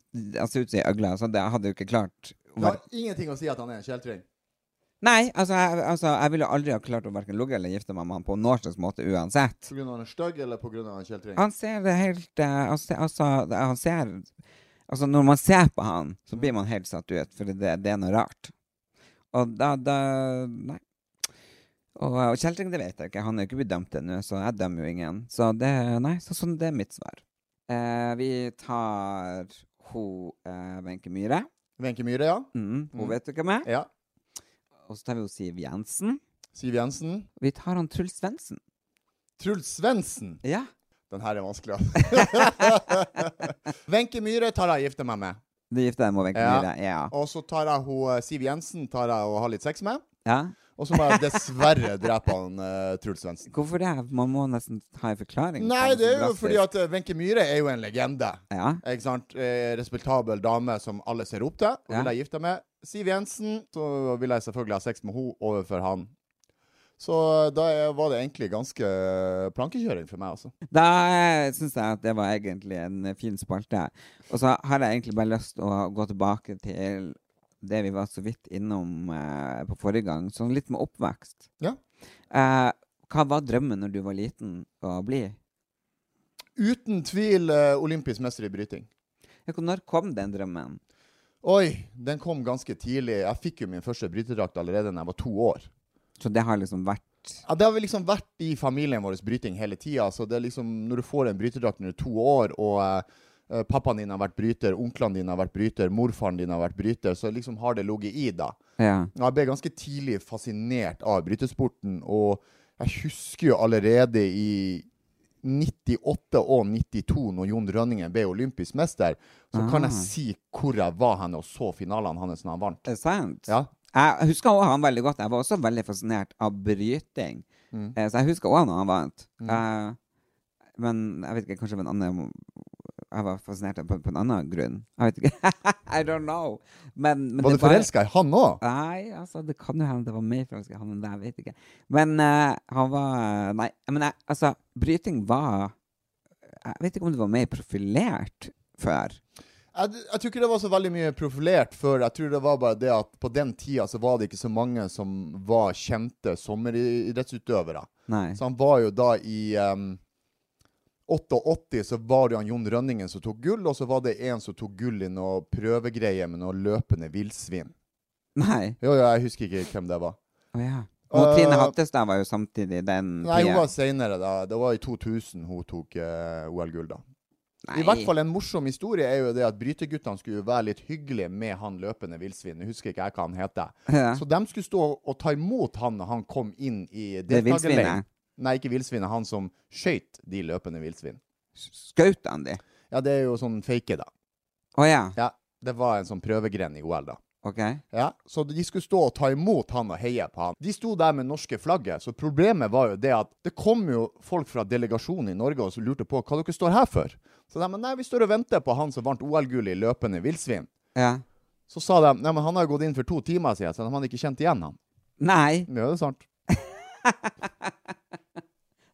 [SPEAKER 9] ser ut som ei øgle, så det hadde jo ikke klart å
[SPEAKER 8] Det har
[SPEAKER 9] være-
[SPEAKER 8] ingenting å si at han er en kjeltring.
[SPEAKER 9] Nei, altså jeg, altså, jeg ville aldri ha klart å verken ligge eller gifte meg med han på noen slags måte uansett.
[SPEAKER 8] På grunn av han er stygg, eller på grunn av han er kjeltring?
[SPEAKER 9] Han ser det helt eh, han ser- Altså, det- han ser Altså, når man ser på han, så blir man helt satt ut, for det, det er noe rart. Og da, da Nei. Og, og kjeltring, det vet jeg ikke. Han er jo ikke blitt dømt ennå, så jeg dømmer jo ingen. Så det Nei, så sånn det er mitt svar. Eh, vi tar hun eh, Wenche Myhre.
[SPEAKER 8] Wenche Myhre, ja.
[SPEAKER 9] Mm, hun
[SPEAKER 8] Mm.
[SPEAKER 9] vet du hvem er.
[SPEAKER 8] Ja.
[SPEAKER 9] Og så tar vi jo Siv Jensen.
[SPEAKER 8] Siv Jensen.
[SPEAKER 9] Vi tar han Truls Svendsen.
[SPEAKER 8] Truls Svendsen.
[SPEAKER 9] Ja.
[SPEAKER 8] Den her er vanskelig. Wenche Myhre tar jeg og gifter meg med.
[SPEAKER 9] Du gifter deg med Wenche
[SPEAKER 8] Ja.
[SPEAKER 9] Myhre? Ja.
[SPEAKER 8] Og så tar jeg hun, eh, Siv Jensen tar jeg og har litt sex med.
[SPEAKER 9] ja.
[SPEAKER 8] Og så må jeg dessverre drepe han eh, Truls Svendsen.
[SPEAKER 9] Hvorfor det? Man må nesten ha en forklaring.
[SPEAKER 8] Nei, det er jo
[SPEAKER 9] Drastisk.
[SPEAKER 8] fordi at eh, Wenche Myhre er jo en legende.
[SPEAKER 9] Ja.
[SPEAKER 8] Ikke sant? Eh, Respektabel dame som alle ser opp til. Og
[SPEAKER 9] Ja.
[SPEAKER 8] vil jeg gifte meg med Siv Jensen, så vil jeg selvfølgelig ha sex med henne overfor han. Så eh, da er- var det egentlig ganske eh, plankekjøring for meg, altså.
[SPEAKER 9] Da syns jeg at det var egentlig en eh, fin spalte. Og så har jeg egentlig bare lyst til å gå tilbake til det vi var så vidt innom eh, på forrige gang, sånn litt med oppvekst.
[SPEAKER 8] Ja.
[SPEAKER 9] Eh, hva var drømmen når du var liten å bli?
[SPEAKER 8] Uten tvil eh, olympisk mester i bryting.
[SPEAKER 9] Ja, hvor- Når kom den drømmen?
[SPEAKER 8] Oi, den kom ganske tidlig. Jeg fikk jo min første brytedrakt allerede da jeg var to år.
[SPEAKER 9] Så det har liksom vært
[SPEAKER 8] Ja, det har vel liksom vært i familien vår bryting hele tida. Så det er liksom, når du får en brytedrakt når du er to år, og eh, eh, pappaen din har vært bryter, onklene dine har vært bryter, morfaren din har vært bryter, så liksom har det ligget i da.
[SPEAKER 9] Ja.
[SPEAKER 8] Og Jeg ble ganske tidlig fascinert av brytesporten, og jeg husker jo allerede i 98 og 92, når Jon Rønningen ble olympisk mester, så kan jeg si hvor jeg var hen og så finalene hans når han vant.
[SPEAKER 9] Er det Eh, sant?
[SPEAKER 8] Ja.
[SPEAKER 9] Jeg husker også han veldig godt. Jeg var også veldig fascinert av bryting.
[SPEAKER 8] Mm.
[SPEAKER 9] Eh, Så jeg husker også når han vant. Eh, men jeg vet ikke, kanskje det var en annen Jeg var fascinert av på, på en annen grunn. Jeg vet ikke. I don't know. Men, men
[SPEAKER 8] Var
[SPEAKER 9] det
[SPEAKER 8] du forelska i han òg?
[SPEAKER 9] Nei, altså, det kan jo hende det var mer fransk enn han enn det, jeg vet ikke. Men eh, han var Nei, men jeg, altså, bryting var Jeg vet ikke om det var mer profilert før.
[SPEAKER 8] Jeg, jeg tror ikke det var så veldig mye profilert før. Jeg tror det var bare det at på den tida så var det ikke så mange som var kjente sommeridrettsutøvere.
[SPEAKER 9] Nei.
[SPEAKER 8] Så han var jo da i em, 88 så var det jo han Jon Rønningen som tok gull, og så var det en som tok gull i noe prøvegreie med noe løpende villsvin.
[SPEAKER 9] Nei.
[SPEAKER 8] Jo, jo, jeg husker ikke hvem det var.
[SPEAKER 9] Å ja. Og Trine
[SPEAKER 8] Eh,
[SPEAKER 9] Hattestad var jo samtidig den
[SPEAKER 8] Nei, hun
[SPEAKER 9] tida.
[SPEAKER 8] var seinere, da. Det var i 2000 hun tok eh, OL-gull, da. I hvert fall en morsom historie er jo det at bryteguttene skulle jo være litt hyggelige med han løpende villsvinet. Husker ikke jeg hva han heter.
[SPEAKER 9] Ja.
[SPEAKER 8] Så de skulle stå og ta imot han når han kom inn i
[SPEAKER 9] Det
[SPEAKER 8] deltakerleiren.
[SPEAKER 9] villsvinet.
[SPEAKER 8] Nei, ikke villsvinet. Han som skøyt de løpende villsvin.
[SPEAKER 9] Skjøt han de?
[SPEAKER 8] Ja, det er jo sånn fake, da.
[SPEAKER 9] Å ja.
[SPEAKER 8] Ja, Det var en sånn prøvegren i OL, da.
[SPEAKER 9] Ok.
[SPEAKER 8] Ja, Så de skulle stå og ta imot han og heie på han. De sto der med norske flagget, så problemet var jo det at det kom jo folk fra delegasjonen i Norge og så lurte på hva dere står her for. Så de men nei, vi står og venter på han som vant OL-gull i løpende villsvin.
[SPEAKER 9] Ja.
[SPEAKER 8] Så sa de nei, men han har jo gått inn for to timer siden, så de hadde ikke kjent igjen han.
[SPEAKER 9] Nei,
[SPEAKER 8] Ja, det er sant.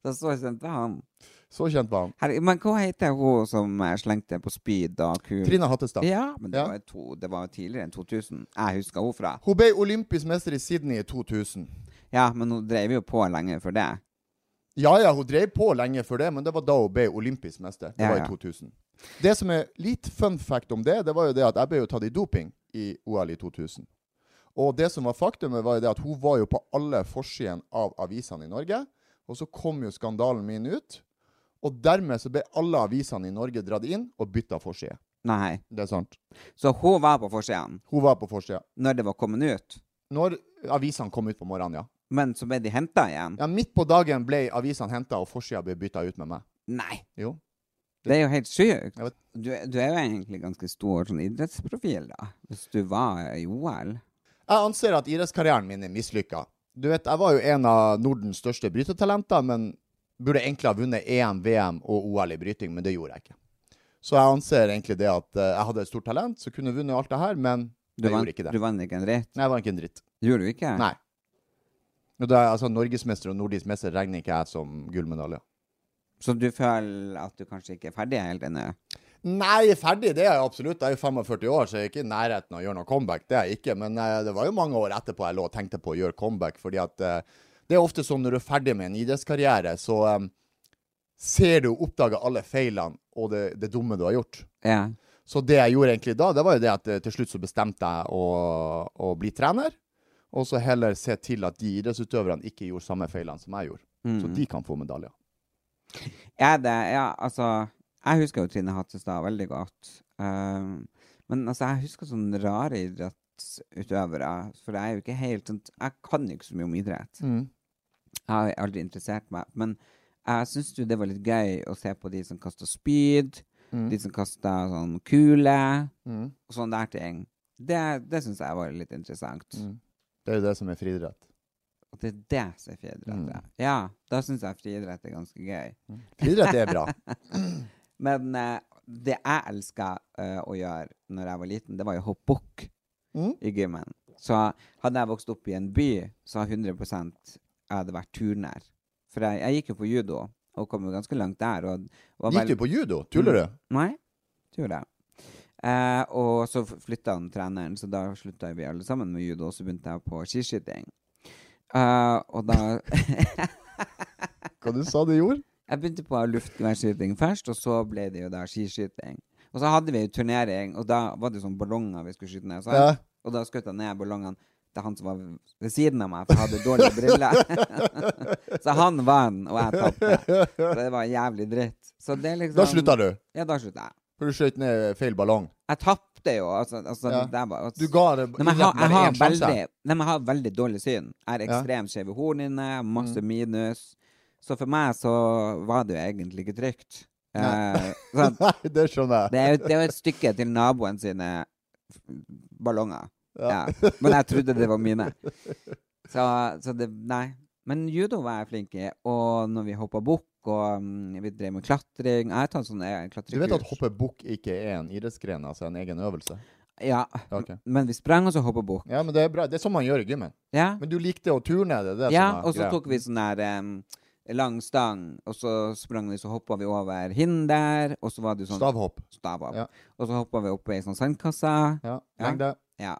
[SPEAKER 9] da så kjente han.
[SPEAKER 8] Så kjent var han.
[SPEAKER 9] Herre, men hva heter hun som eh, slengte på spyd og kul?
[SPEAKER 8] Trine Hattestad.
[SPEAKER 9] Ja, men det,
[SPEAKER 8] Ja.
[SPEAKER 9] Var to, det var tidligere enn 2000. Jeg husker hun fra.
[SPEAKER 8] Hun ble olympisk mester i Sydney i 2000.
[SPEAKER 9] Ja, men hun drev jo på lenge for det.
[SPEAKER 8] Ja ja, hun drev på lenge før det, men det var da hun ble olympisk mester. Det
[SPEAKER 9] Ja,
[SPEAKER 8] var
[SPEAKER 9] ja.
[SPEAKER 8] i 2000. Det som er litt fun fact om det, det var jo det at jeg ble jo tatt i doping i OL i 2000. Og det som var faktumet, var jo det at hun var jo på alle forsiden av avisene i Norge. Og så kom jo skandalen min ut, og dermed så ble alle avisene i Norge dratt inn og bytta forside.
[SPEAKER 9] Nei.
[SPEAKER 8] Det er sant.
[SPEAKER 9] Så hun var på forsiden
[SPEAKER 8] Hun var på forsida.
[SPEAKER 9] når det var kommet ut.
[SPEAKER 8] Når avisene kom ut på morgenen, ja.
[SPEAKER 9] Men så ble de henta igjen.
[SPEAKER 8] ja midt på dagen ble avisene henta, og forsida ble bytta ut med meg.
[SPEAKER 9] Nei.
[SPEAKER 8] Jo.
[SPEAKER 9] Det er jo helt sykt.
[SPEAKER 8] Jeg vet-
[SPEAKER 9] Du, er- du er jo egentlig ganske stor sånn idrettsprofil, da. Hvis du var i OL.
[SPEAKER 8] Jeg anser at idrettskarrieren min er mislykka. Du vet, jeg var jo en av Nordens største brytetalenter, men burde egentlig ha vunnet EM, VM og OL i bryting, men det gjorde jeg ikke. Så jeg anser egentlig det at eh, jeg hadde et stort talent, så kunne vunnet alt det her, men
[SPEAKER 9] Du
[SPEAKER 8] jeg
[SPEAKER 9] vant,
[SPEAKER 8] gjorde ikke
[SPEAKER 9] Du
[SPEAKER 8] det.
[SPEAKER 9] vant ikke en dritt.
[SPEAKER 8] Nei, jeg var ikke en dritt.
[SPEAKER 9] Gjorde du ikke?
[SPEAKER 8] Nei. Og det er, altså, Norgesmester og nordisk mester regner ikke jeg som gullmedalje.
[SPEAKER 9] Så du føler at du kanskje ikke er ferdig helt ennå?
[SPEAKER 8] Nei, ferdig det er jeg absolutt. Jeg er jo 45 år, så jeg er ikke i nærheten av å gjøre noe comeback. Det er jeg ikke. Men eh, det var jo mange år etterpå jeg lå og tenkte på å gjøre comeback, fordi at eh, det er ofte sånn når du er ferdig med en idrettskarriere, så eh, ser du og oppdager alle feilene og det, det dumme du har gjort.
[SPEAKER 9] Ja.
[SPEAKER 8] Så det jeg gjorde egentlig da, det var jo det at eh, til slutt så bestemte jeg å, å bli trener, og så heller se til at de idrettsutøverne ikke gjorde samme feilene som jeg gjorde. Så de kan få medaljer.
[SPEAKER 9] Er det Mm. Ja, altså Jeg husker jo Trine Hattestad veldig godt. Ehm, men altså, jeg husker sånne rare idrettsutøvere. For jeg er jo ikke helt sånn Jeg kan ikke så mye om idrett.
[SPEAKER 8] Mm.
[SPEAKER 9] Jeg har aldri interessert meg. Men jeg syns jo det var litt gøy å se på de som kasta spyd,
[SPEAKER 8] Mm.
[SPEAKER 9] de som kasta sånn kule, og sånne der ting. Det, det syns jeg var litt interessant.
[SPEAKER 8] Mm. Det er jo det som er friidrett.
[SPEAKER 9] Og det er det som er friidrett.
[SPEAKER 8] Mm.
[SPEAKER 9] ja. Ja, da syns jeg friidrett er ganske gøy.
[SPEAKER 8] Friidrett er bra.
[SPEAKER 9] Men eh, det jeg elska å gjøre når jeg var liten, det var jo å hoppe bukk
[SPEAKER 8] Mm.
[SPEAKER 9] i gymmen. Så hadde jeg vokst opp i en by, så hadde 100 jeg hadde vært turner. For jeg, jeg gikk jo på judo, og kom jo ganske langt der. Og var
[SPEAKER 8] Gikk du på judo? Tuller du?
[SPEAKER 9] Nei, det gjorde jeg. Eh, og så flytta han treneren, så da slutta vi alle sammen med judo, og så begynte jeg på skiskyting. Eh, og da
[SPEAKER 8] Hva du sa du gjorde?
[SPEAKER 9] Jeg begynte på luftgeværskyting først, og så ble det jo da skiskyting. Og så hadde vi jo turnering, og da var det jo sånn ballonger vi skulle skyte ned. sant?
[SPEAKER 8] Ja.
[SPEAKER 9] Og da skjøt jeg ned ballongene til han som var ved siden av meg, for jeg hadde dårlige briller. så han vant, og jeg tapte. Så det var jævlig dritt. Så det er liksom
[SPEAKER 8] Da slutta du.
[SPEAKER 9] Ja, da slutta jeg.
[SPEAKER 8] For du skjøt ned feil ballong.
[SPEAKER 9] Jeg tapte jo. Altså, altså,
[SPEAKER 8] Ja.
[SPEAKER 9] det var,
[SPEAKER 8] Du ga det
[SPEAKER 9] Nei, men jeg, har,
[SPEAKER 8] idretten bare
[SPEAKER 9] jeg, har
[SPEAKER 8] én sjanse.
[SPEAKER 9] veldig, nei, men jeg har veldig dårlig syn. Jeg har ekstremt skjeve horn inne,
[SPEAKER 8] Mm.
[SPEAKER 9] masse minus. Så for meg så var det jo egentlig ikke trygt. Eh, sant?
[SPEAKER 8] Nei, det skjønner jeg.
[SPEAKER 9] det, er jo, det er jo et stykke til naboen sine f- ballonger. Ja. Men jeg trodde det var mine. Så, så det Nei. Men judo var jeg flink i, og når vi hoppa bukk og mm, vi drev med klatring Jeg har tatt sånn, eh, sånne
[SPEAKER 8] Du
[SPEAKER 9] klatrekurs.
[SPEAKER 8] vet at hoppe bukk ikke er en idrettsgren, altså en egen øvelse?
[SPEAKER 9] Ja.
[SPEAKER 8] Ok.
[SPEAKER 9] Men vi sprang, og så hoppa bukk.
[SPEAKER 8] Ja, men det er bra. Det er sånn man gjør i gymmen.
[SPEAKER 9] Ja.
[SPEAKER 8] Men du likte å turne, det er det
[SPEAKER 9] Ja,
[SPEAKER 8] som er
[SPEAKER 9] og så tok vi sånn der em, lang stang, og så sprang vi, så hoppa vi over hinder, og så var det jo sånn
[SPEAKER 8] Stavhopp.
[SPEAKER 9] Stav opp.
[SPEAKER 8] Ja.
[SPEAKER 9] Og så hoppa vi opp i ei sånn sandkasse, ja.
[SPEAKER 8] Ja, lengde.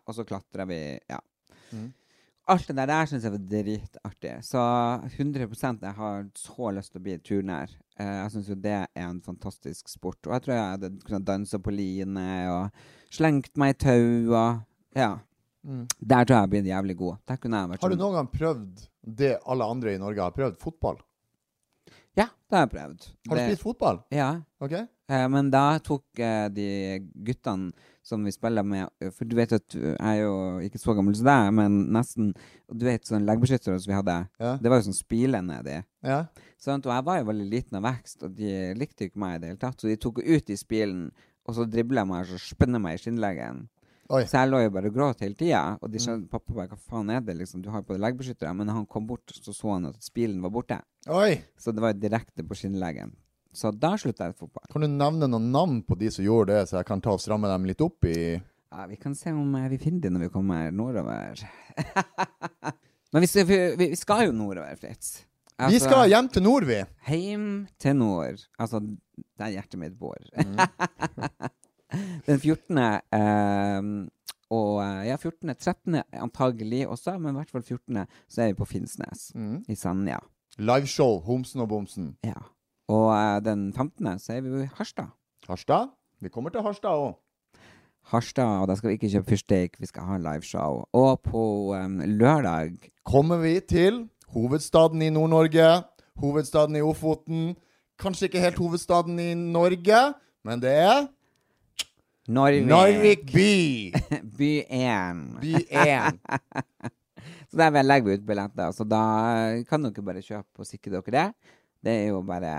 [SPEAKER 9] og så klatra vi, ja.
[SPEAKER 8] Mm.
[SPEAKER 9] Alt det der der syns jeg var dritartig. Så 100 jeg har så lyst til å bli turner. Eh, Jeg syns jo det er en fantastisk sport. Og jeg tror jeg hadde kunnet danse på line og slengt meg i tau og Ja. Der tror jeg jeg hadde blitt jævlig god. Der kunne jeg
[SPEAKER 8] Mm.
[SPEAKER 9] vært
[SPEAKER 8] Har du
[SPEAKER 9] sånn-
[SPEAKER 8] noen gang prøvd det alle andre i Norge har prøvd? Fotball?
[SPEAKER 9] Ja, det har jeg prøvd.
[SPEAKER 8] Har du
[SPEAKER 9] Det-
[SPEAKER 8] spilt fotball?
[SPEAKER 9] Ja.
[SPEAKER 8] OK?
[SPEAKER 9] Eh, Men da tok eh, de guttene som vi spiller med eh, For du vet at eh, jeg er jo ikke så gammel som deg, men nesten og Du vet sånn leggbeskyttere som vi hadde?
[SPEAKER 8] Ja.
[SPEAKER 9] Det var jo sånn spile nedi.
[SPEAKER 8] Ja.
[SPEAKER 9] Sant? Og jeg var jo veldig liten av vekst, og de likte jo ikke meg i det hele tatt. Så de tok jo ut i spilen, og så dribla jeg meg og så spenna meg i skinnleggen.
[SPEAKER 8] Oi. Mm.
[SPEAKER 9] Så jeg lå jo bare og gråt hele tida. Og de skjønte pappa bare hva faen er det, liksom? Du har jo på deg leggbeskyttere. Men han kom bort, så så han at spilen var borte.
[SPEAKER 8] Oi!
[SPEAKER 9] Så det var jo direkte på skinnleggen. Så da slutta jeg i fotball.
[SPEAKER 8] Kan du nevne noen navn på de som gjorde det, så jeg kan ta og stramme dem litt opp i
[SPEAKER 9] Ja, vi kan se om eh, vi finner det når vi kommer nordover. Men vi skal, vi, vi skal jo nordover, Fritz.
[SPEAKER 8] Vi
[SPEAKER 9] Altså,
[SPEAKER 8] skal hjem til nord, vi!
[SPEAKER 9] Heim til nord. Altså, der hjertet mitt bor.
[SPEAKER 8] Mm.
[SPEAKER 9] Den 14. ehm, og eh, ja, 14. 13. antagelig også, men i hvert fall 14. så er vi på Finnsnes
[SPEAKER 8] Mm.
[SPEAKER 9] i Sanja.
[SPEAKER 8] Liveshow Homsen og Bomsen.
[SPEAKER 9] Ja. Og eh, den 15. så er vi jo i Harstad.
[SPEAKER 8] Harstad? Vi kommer til Harstad òg.
[SPEAKER 9] Harstad, og da skal vi ikke kjøpe fyrsteik, vi skal ha liveshow. Og på em, lørdag
[SPEAKER 8] kommer vi til hovedstaden i Nord-Norge, hovedstaden i Ofoten. Kanskje ikke helt hovedstaden i Norge, men det er
[SPEAKER 9] Narvik.
[SPEAKER 8] Narvik by!
[SPEAKER 9] By 1.
[SPEAKER 8] By 1.
[SPEAKER 9] Så der legger vi ut billetter, så da kan dere bare kjøpe og sikre dere det. Det er jo bare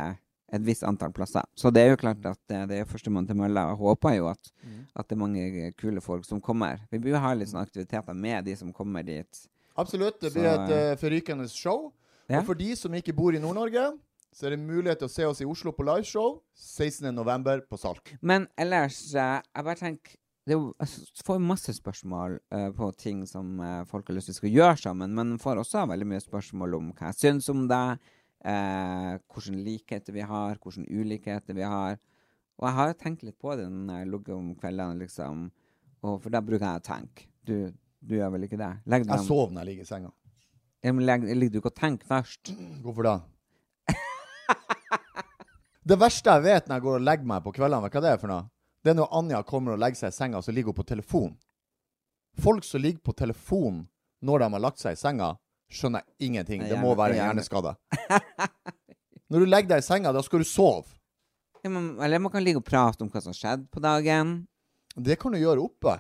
[SPEAKER 9] et visst antall plasser. Så det er jo klart at eh, det er førstemann til mølla. Jeg håper jo at, at det er mange kule folk som kommer. Vi bør jo ha litt sånne aktiviteter med de som kommer dit.
[SPEAKER 8] Absolutt. Det blir
[SPEAKER 9] Så,
[SPEAKER 8] et eh, forrykende show.
[SPEAKER 9] Ja.
[SPEAKER 8] Og for de som ikke bor i Nord-Norge, så er det mulighet til å se oss i Oslo på liveshow 16.11. på Salk.
[SPEAKER 9] Men ellers, eh, jeg bare tenker det er jo, jeg s- får masse spørsmål eh, på ting som eh, folk har lyst til skal gjøre sammen, men får også veldig mye spørsmål om hva jeg syns om det, eh, hvilke likheter vi har, hvilke ulikheter vi har. Og jeg har jo tenkt litt på det når jeg ligger om kveldene, liksom. Og for da bruker jeg å tenke. Du, du gjør vel ikke det? Legg deg
[SPEAKER 8] Jeg sover når jeg ligger i senga.
[SPEAKER 9] Ja, men legg- Ligger du ikke og tenker først?
[SPEAKER 8] Hvorfor da? Det verste jeg vet når jeg går og legger meg på kveldene, vet du hva det er for noe? Det er når Anja kommer og legger seg i senga, så ligger hun på telefon. Folk som ligger på telefon når de har lagt seg i senga, skjønner jeg ingenting. Det må være
[SPEAKER 9] Hjerne-
[SPEAKER 8] hjerneskade. Når du legger deg i senga, da skal du sove.
[SPEAKER 9] Ja, men, eller man kan ligge og prate om hva som skjedde på dagen.
[SPEAKER 8] Det kan du gjøre oppe.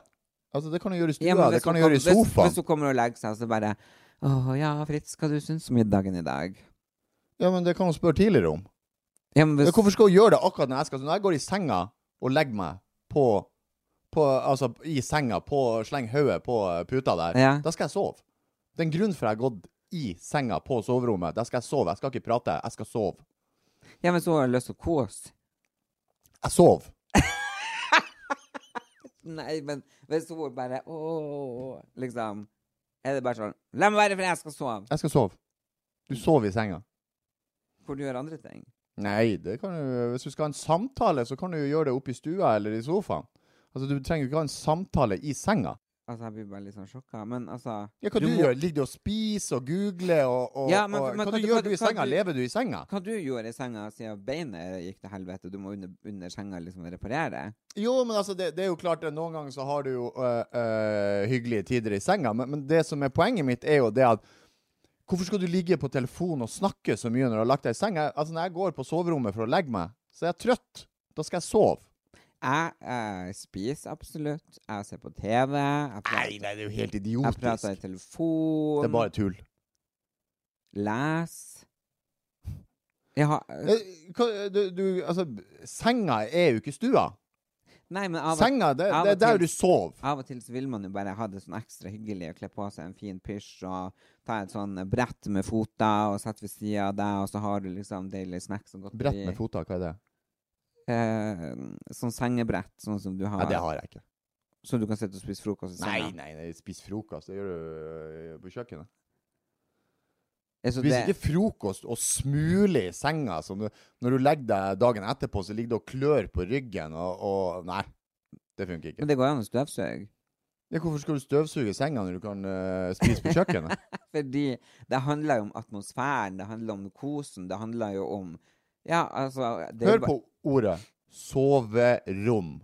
[SPEAKER 8] Altså, det kan du gjøre i stua,
[SPEAKER 9] Ja, men
[SPEAKER 8] det
[SPEAKER 9] hvis
[SPEAKER 8] kan
[SPEAKER 9] hun
[SPEAKER 8] du gjøre i
[SPEAKER 9] kommer- hvis-
[SPEAKER 8] sofaen.
[SPEAKER 9] Hvis hun kommer og legger seg, så bare Å ja, Fritz, hva du syns om middagen i dag?
[SPEAKER 8] Ja, men det kan hun spørre tidligere om.
[SPEAKER 9] Ja, men hvis,
[SPEAKER 8] Men hvorfor skal hun gjøre det akkurat når jeg skal? Så når jeg går i senga og legger meg på, på Altså, i senga, på slenger hodet på eh, puta der,
[SPEAKER 9] Ja.
[SPEAKER 8] da skal jeg sove. Det er en grunn for jeg har gått i senga på soverommet. Da skal jeg sove. Jeg skal ikke prate. Jeg skal sove.
[SPEAKER 9] ja, hvis hun har lyst til å kose
[SPEAKER 8] Jeg sover.
[SPEAKER 9] Nei, men hvis hun bare Å Liksom. Er det bare sånn La meg være, for jeg skal sove.
[SPEAKER 8] Jeg skal sove. Du sover i senga.
[SPEAKER 9] Hvor du gjør andre ting.
[SPEAKER 8] Nei, det kan du Hvis du skal ha en samtale, så kan du jo gjøre det oppe i stua eller i sofaen. Altså, du trenger jo ikke ha en samtale i senga.
[SPEAKER 9] Altså, jeg blir bare litt sånn sjokka. Men altså
[SPEAKER 8] Ja, hva du,
[SPEAKER 9] må-
[SPEAKER 8] gjør? Ligger du og spiser og googler og, og,
[SPEAKER 9] Ja, men-
[SPEAKER 8] og
[SPEAKER 9] men
[SPEAKER 8] Hva,
[SPEAKER 9] hva-
[SPEAKER 8] du gjør
[SPEAKER 9] hva-
[SPEAKER 8] du i
[SPEAKER 9] hva
[SPEAKER 8] senga?
[SPEAKER 9] du-
[SPEAKER 8] Lever du i senga?
[SPEAKER 9] Hva du gjorde i senga siden beinet gikk til helvete? Du må under, under senga liksom reparere?
[SPEAKER 8] Jo, men altså, det, det er jo klart det, Noen ganger så har du jo øh, øh, hyggelige tider i senga, men, men det som er poenget mitt, er jo det at Hvorfor skal du ligge på telefonen og snakke så mye når du har lagt deg i senga? Altså, Når jeg går på soverommet for å legge meg, så er jeg trøtt. Da skal jeg sove.
[SPEAKER 9] Jeg eh, spiser absolutt. Jeg ser på TV. Jeg prater,
[SPEAKER 8] nei, det er jo helt
[SPEAKER 9] jeg
[SPEAKER 8] idiotisk.
[SPEAKER 9] prater i telefon.
[SPEAKER 8] Det er bare tull.
[SPEAKER 9] Les. Jeg har
[SPEAKER 8] Eh, Hva, du, du, altså, senga er jo ikke stua.
[SPEAKER 9] Nei, men av og,
[SPEAKER 8] Senga, det,
[SPEAKER 9] av
[SPEAKER 8] det er
[SPEAKER 9] og
[SPEAKER 8] der
[SPEAKER 9] til-
[SPEAKER 8] du sover.
[SPEAKER 9] av og til så vil man jo bare ha det sånn ekstra hyggelig og kle på seg en fin pysj og ta et sånn brett med føtter og sette ved sida av deg, og så har du liksom deilig snacks og godt
[SPEAKER 8] Brett med føtter, hva er det?
[SPEAKER 9] Eh, sånn sengebrett, sånn som du har.
[SPEAKER 8] Nei, det har jeg ikke.
[SPEAKER 9] Så du kan sitte og spise frokost i
[SPEAKER 8] Nei,
[SPEAKER 9] senga.
[SPEAKER 8] nei, nei, spis frokost. Det gjør du øh, på kjøkkenet.
[SPEAKER 9] Ja, så
[SPEAKER 8] Spis
[SPEAKER 9] det-
[SPEAKER 8] ikke frokost og smule i senga. Som du, når du legger deg dagen etterpå, så ligger du og klør på ryggen og, og Nei, det funker
[SPEAKER 9] Men
[SPEAKER 8] ikke.
[SPEAKER 9] det går jo an å støvsuge.
[SPEAKER 8] Ja, hvorfor skal du støvsuge senga når du kan øh, spise på kjøkkenet?
[SPEAKER 9] Fordi det handler jo om atmosfæren, det handler om kosen, det handler jo om Ja, altså det er jo
[SPEAKER 8] Hør
[SPEAKER 9] ba-
[SPEAKER 8] på ordet soverom.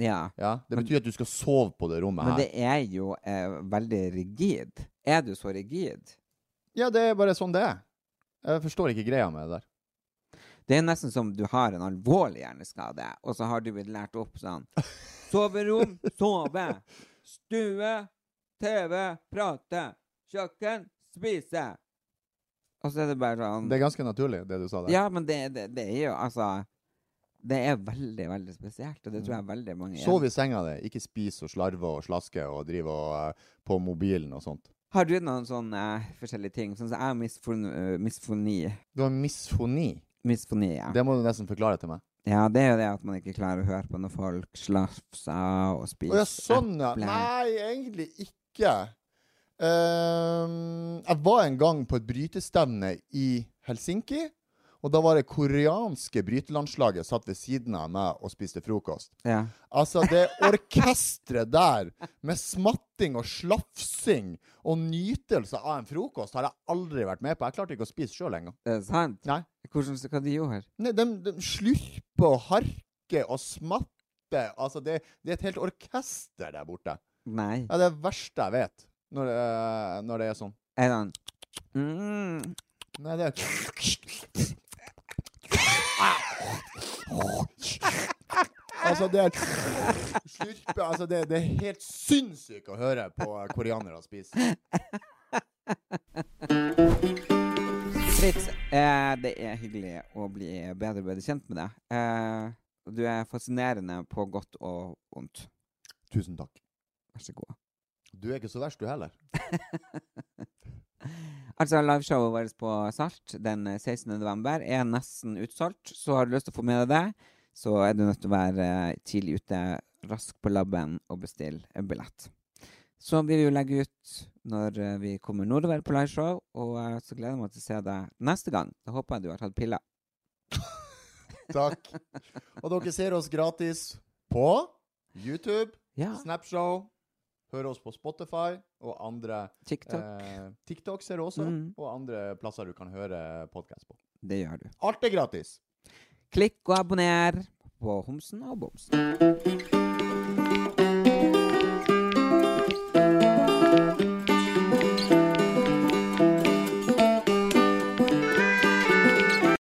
[SPEAKER 9] Ja.
[SPEAKER 8] Ja, Det
[SPEAKER 9] Men-
[SPEAKER 8] betyr at du skal sove på det rommet
[SPEAKER 9] Men
[SPEAKER 8] her.
[SPEAKER 9] det er jo eh, veldig rigid. Er du så rigid?
[SPEAKER 8] Ja, det er bare sånn det er. Jeg forstår ikke greia med det der.
[SPEAKER 9] Det er nesten som du har en alvorlig hjerneskade, og så har du blitt lært opp sånn Soverom, sove. Stue, TV, prate. Kjøkken, spise. Og så er det bare sånn
[SPEAKER 8] Det er ganske naturlig, det du sa der.
[SPEAKER 9] Ja, men det, det, det er jo altså Det er veldig, veldig spesielt, og det tror jeg veldig mange
[SPEAKER 8] Sov i senga di, ikke spis og slarve og slaske og drive og, øh, på mobilen og sånt.
[SPEAKER 9] Har du noen sånne eh, forskjellige ting? Sånn som jeg har misfon, eh, misfoni.
[SPEAKER 8] Du har misfoni.
[SPEAKER 9] Misfoni, ja.
[SPEAKER 8] Det må du nesten forklare til meg.
[SPEAKER 9] Ja, det er jo det at man ikke klarer å høre på når folk slafser og
[SPEAKER 8] Å
[SPEAKER 9] spiser
[SPEAKER 8] ja, sånn, ja.
[SPEAKER 9] eple.
[SPEAKER 8] Nei, egentlig ikke. Ehm, jeg var en gang på et brytestevne i Helsinki. Og da var det koreanske brytelandslaget satt ved siden av meg og spiste frokost.
[SPEAKER 9] Ja.
[SPEAKER 8] Altså, det orkesteret der, med smatting og slafsing og nytelse av en frokost, har jeg aldri vært med på. Jeg klarte ikke å spise sjøl engang.
[SPEAKER 9] Er det sant?
[SPEAKER 8] Nei.
[SPEAKER 9] Hvordan, hva de gjorde?
[SPEAKER 8] Nei, De, de slurper og harker og smatter. Altså, det, det er et helt orkester der borte.
[SPEAKER 9] Nei.
[SPEAKER 8] Ja, det er det verste jeg vet. Når det, når det er sånn.
[SPEAKER 9] Er det han mm.
[SPEAKER 8] Nei, det er Altså, det er Slurpe Altså, det, det er helt sinnssykt å høre på koreanere spise.
[SPEAKER 9] Fritz, eh, det er hyggelig å bli bedre og bedre kjent med deg. Eh, du er fascinerende på godt og vondt.
[SPEAKER 8] Tusen takk.
[SPEAKER 9] Vær så god.
[SPEAKER 8] Du er ikke så verst, du heller.
[SPEAKER 9] Altså, liveshowet vårt på Salt den 16. november er nesten utsolgt, så har du lyst til å få med deg det, så er du nødt til å være eh, tidlig ute, rask på labben og bestille en billett. Så vil vi jo legge ut når eh, vi kommer nordover på liveshow, og eh, så gleder jeg meg til å se deg neste gang. Da håper jeg du har tatt piller.
[SPEAKER 8] Takk. Og dere ser oss gratis på YouTube,
[SPEAKER 9] Ja.
[SPEAKER 8] Snapshow, hører oss på Spotify og andre
[SPEAKER 9] TikTok.
[SPEAKER 8] Eh, TikTok ser du også,
[SPEAKER 9] Mm.
[SPEAKER 8] og andre plasser du kan høre podkast på.
[SPEAKER 9] Det gjør du.
[SPEAKER 8] Alt er gratis!
[SPEAKER 9] Klikk og abonner på Homsen og Bomsen.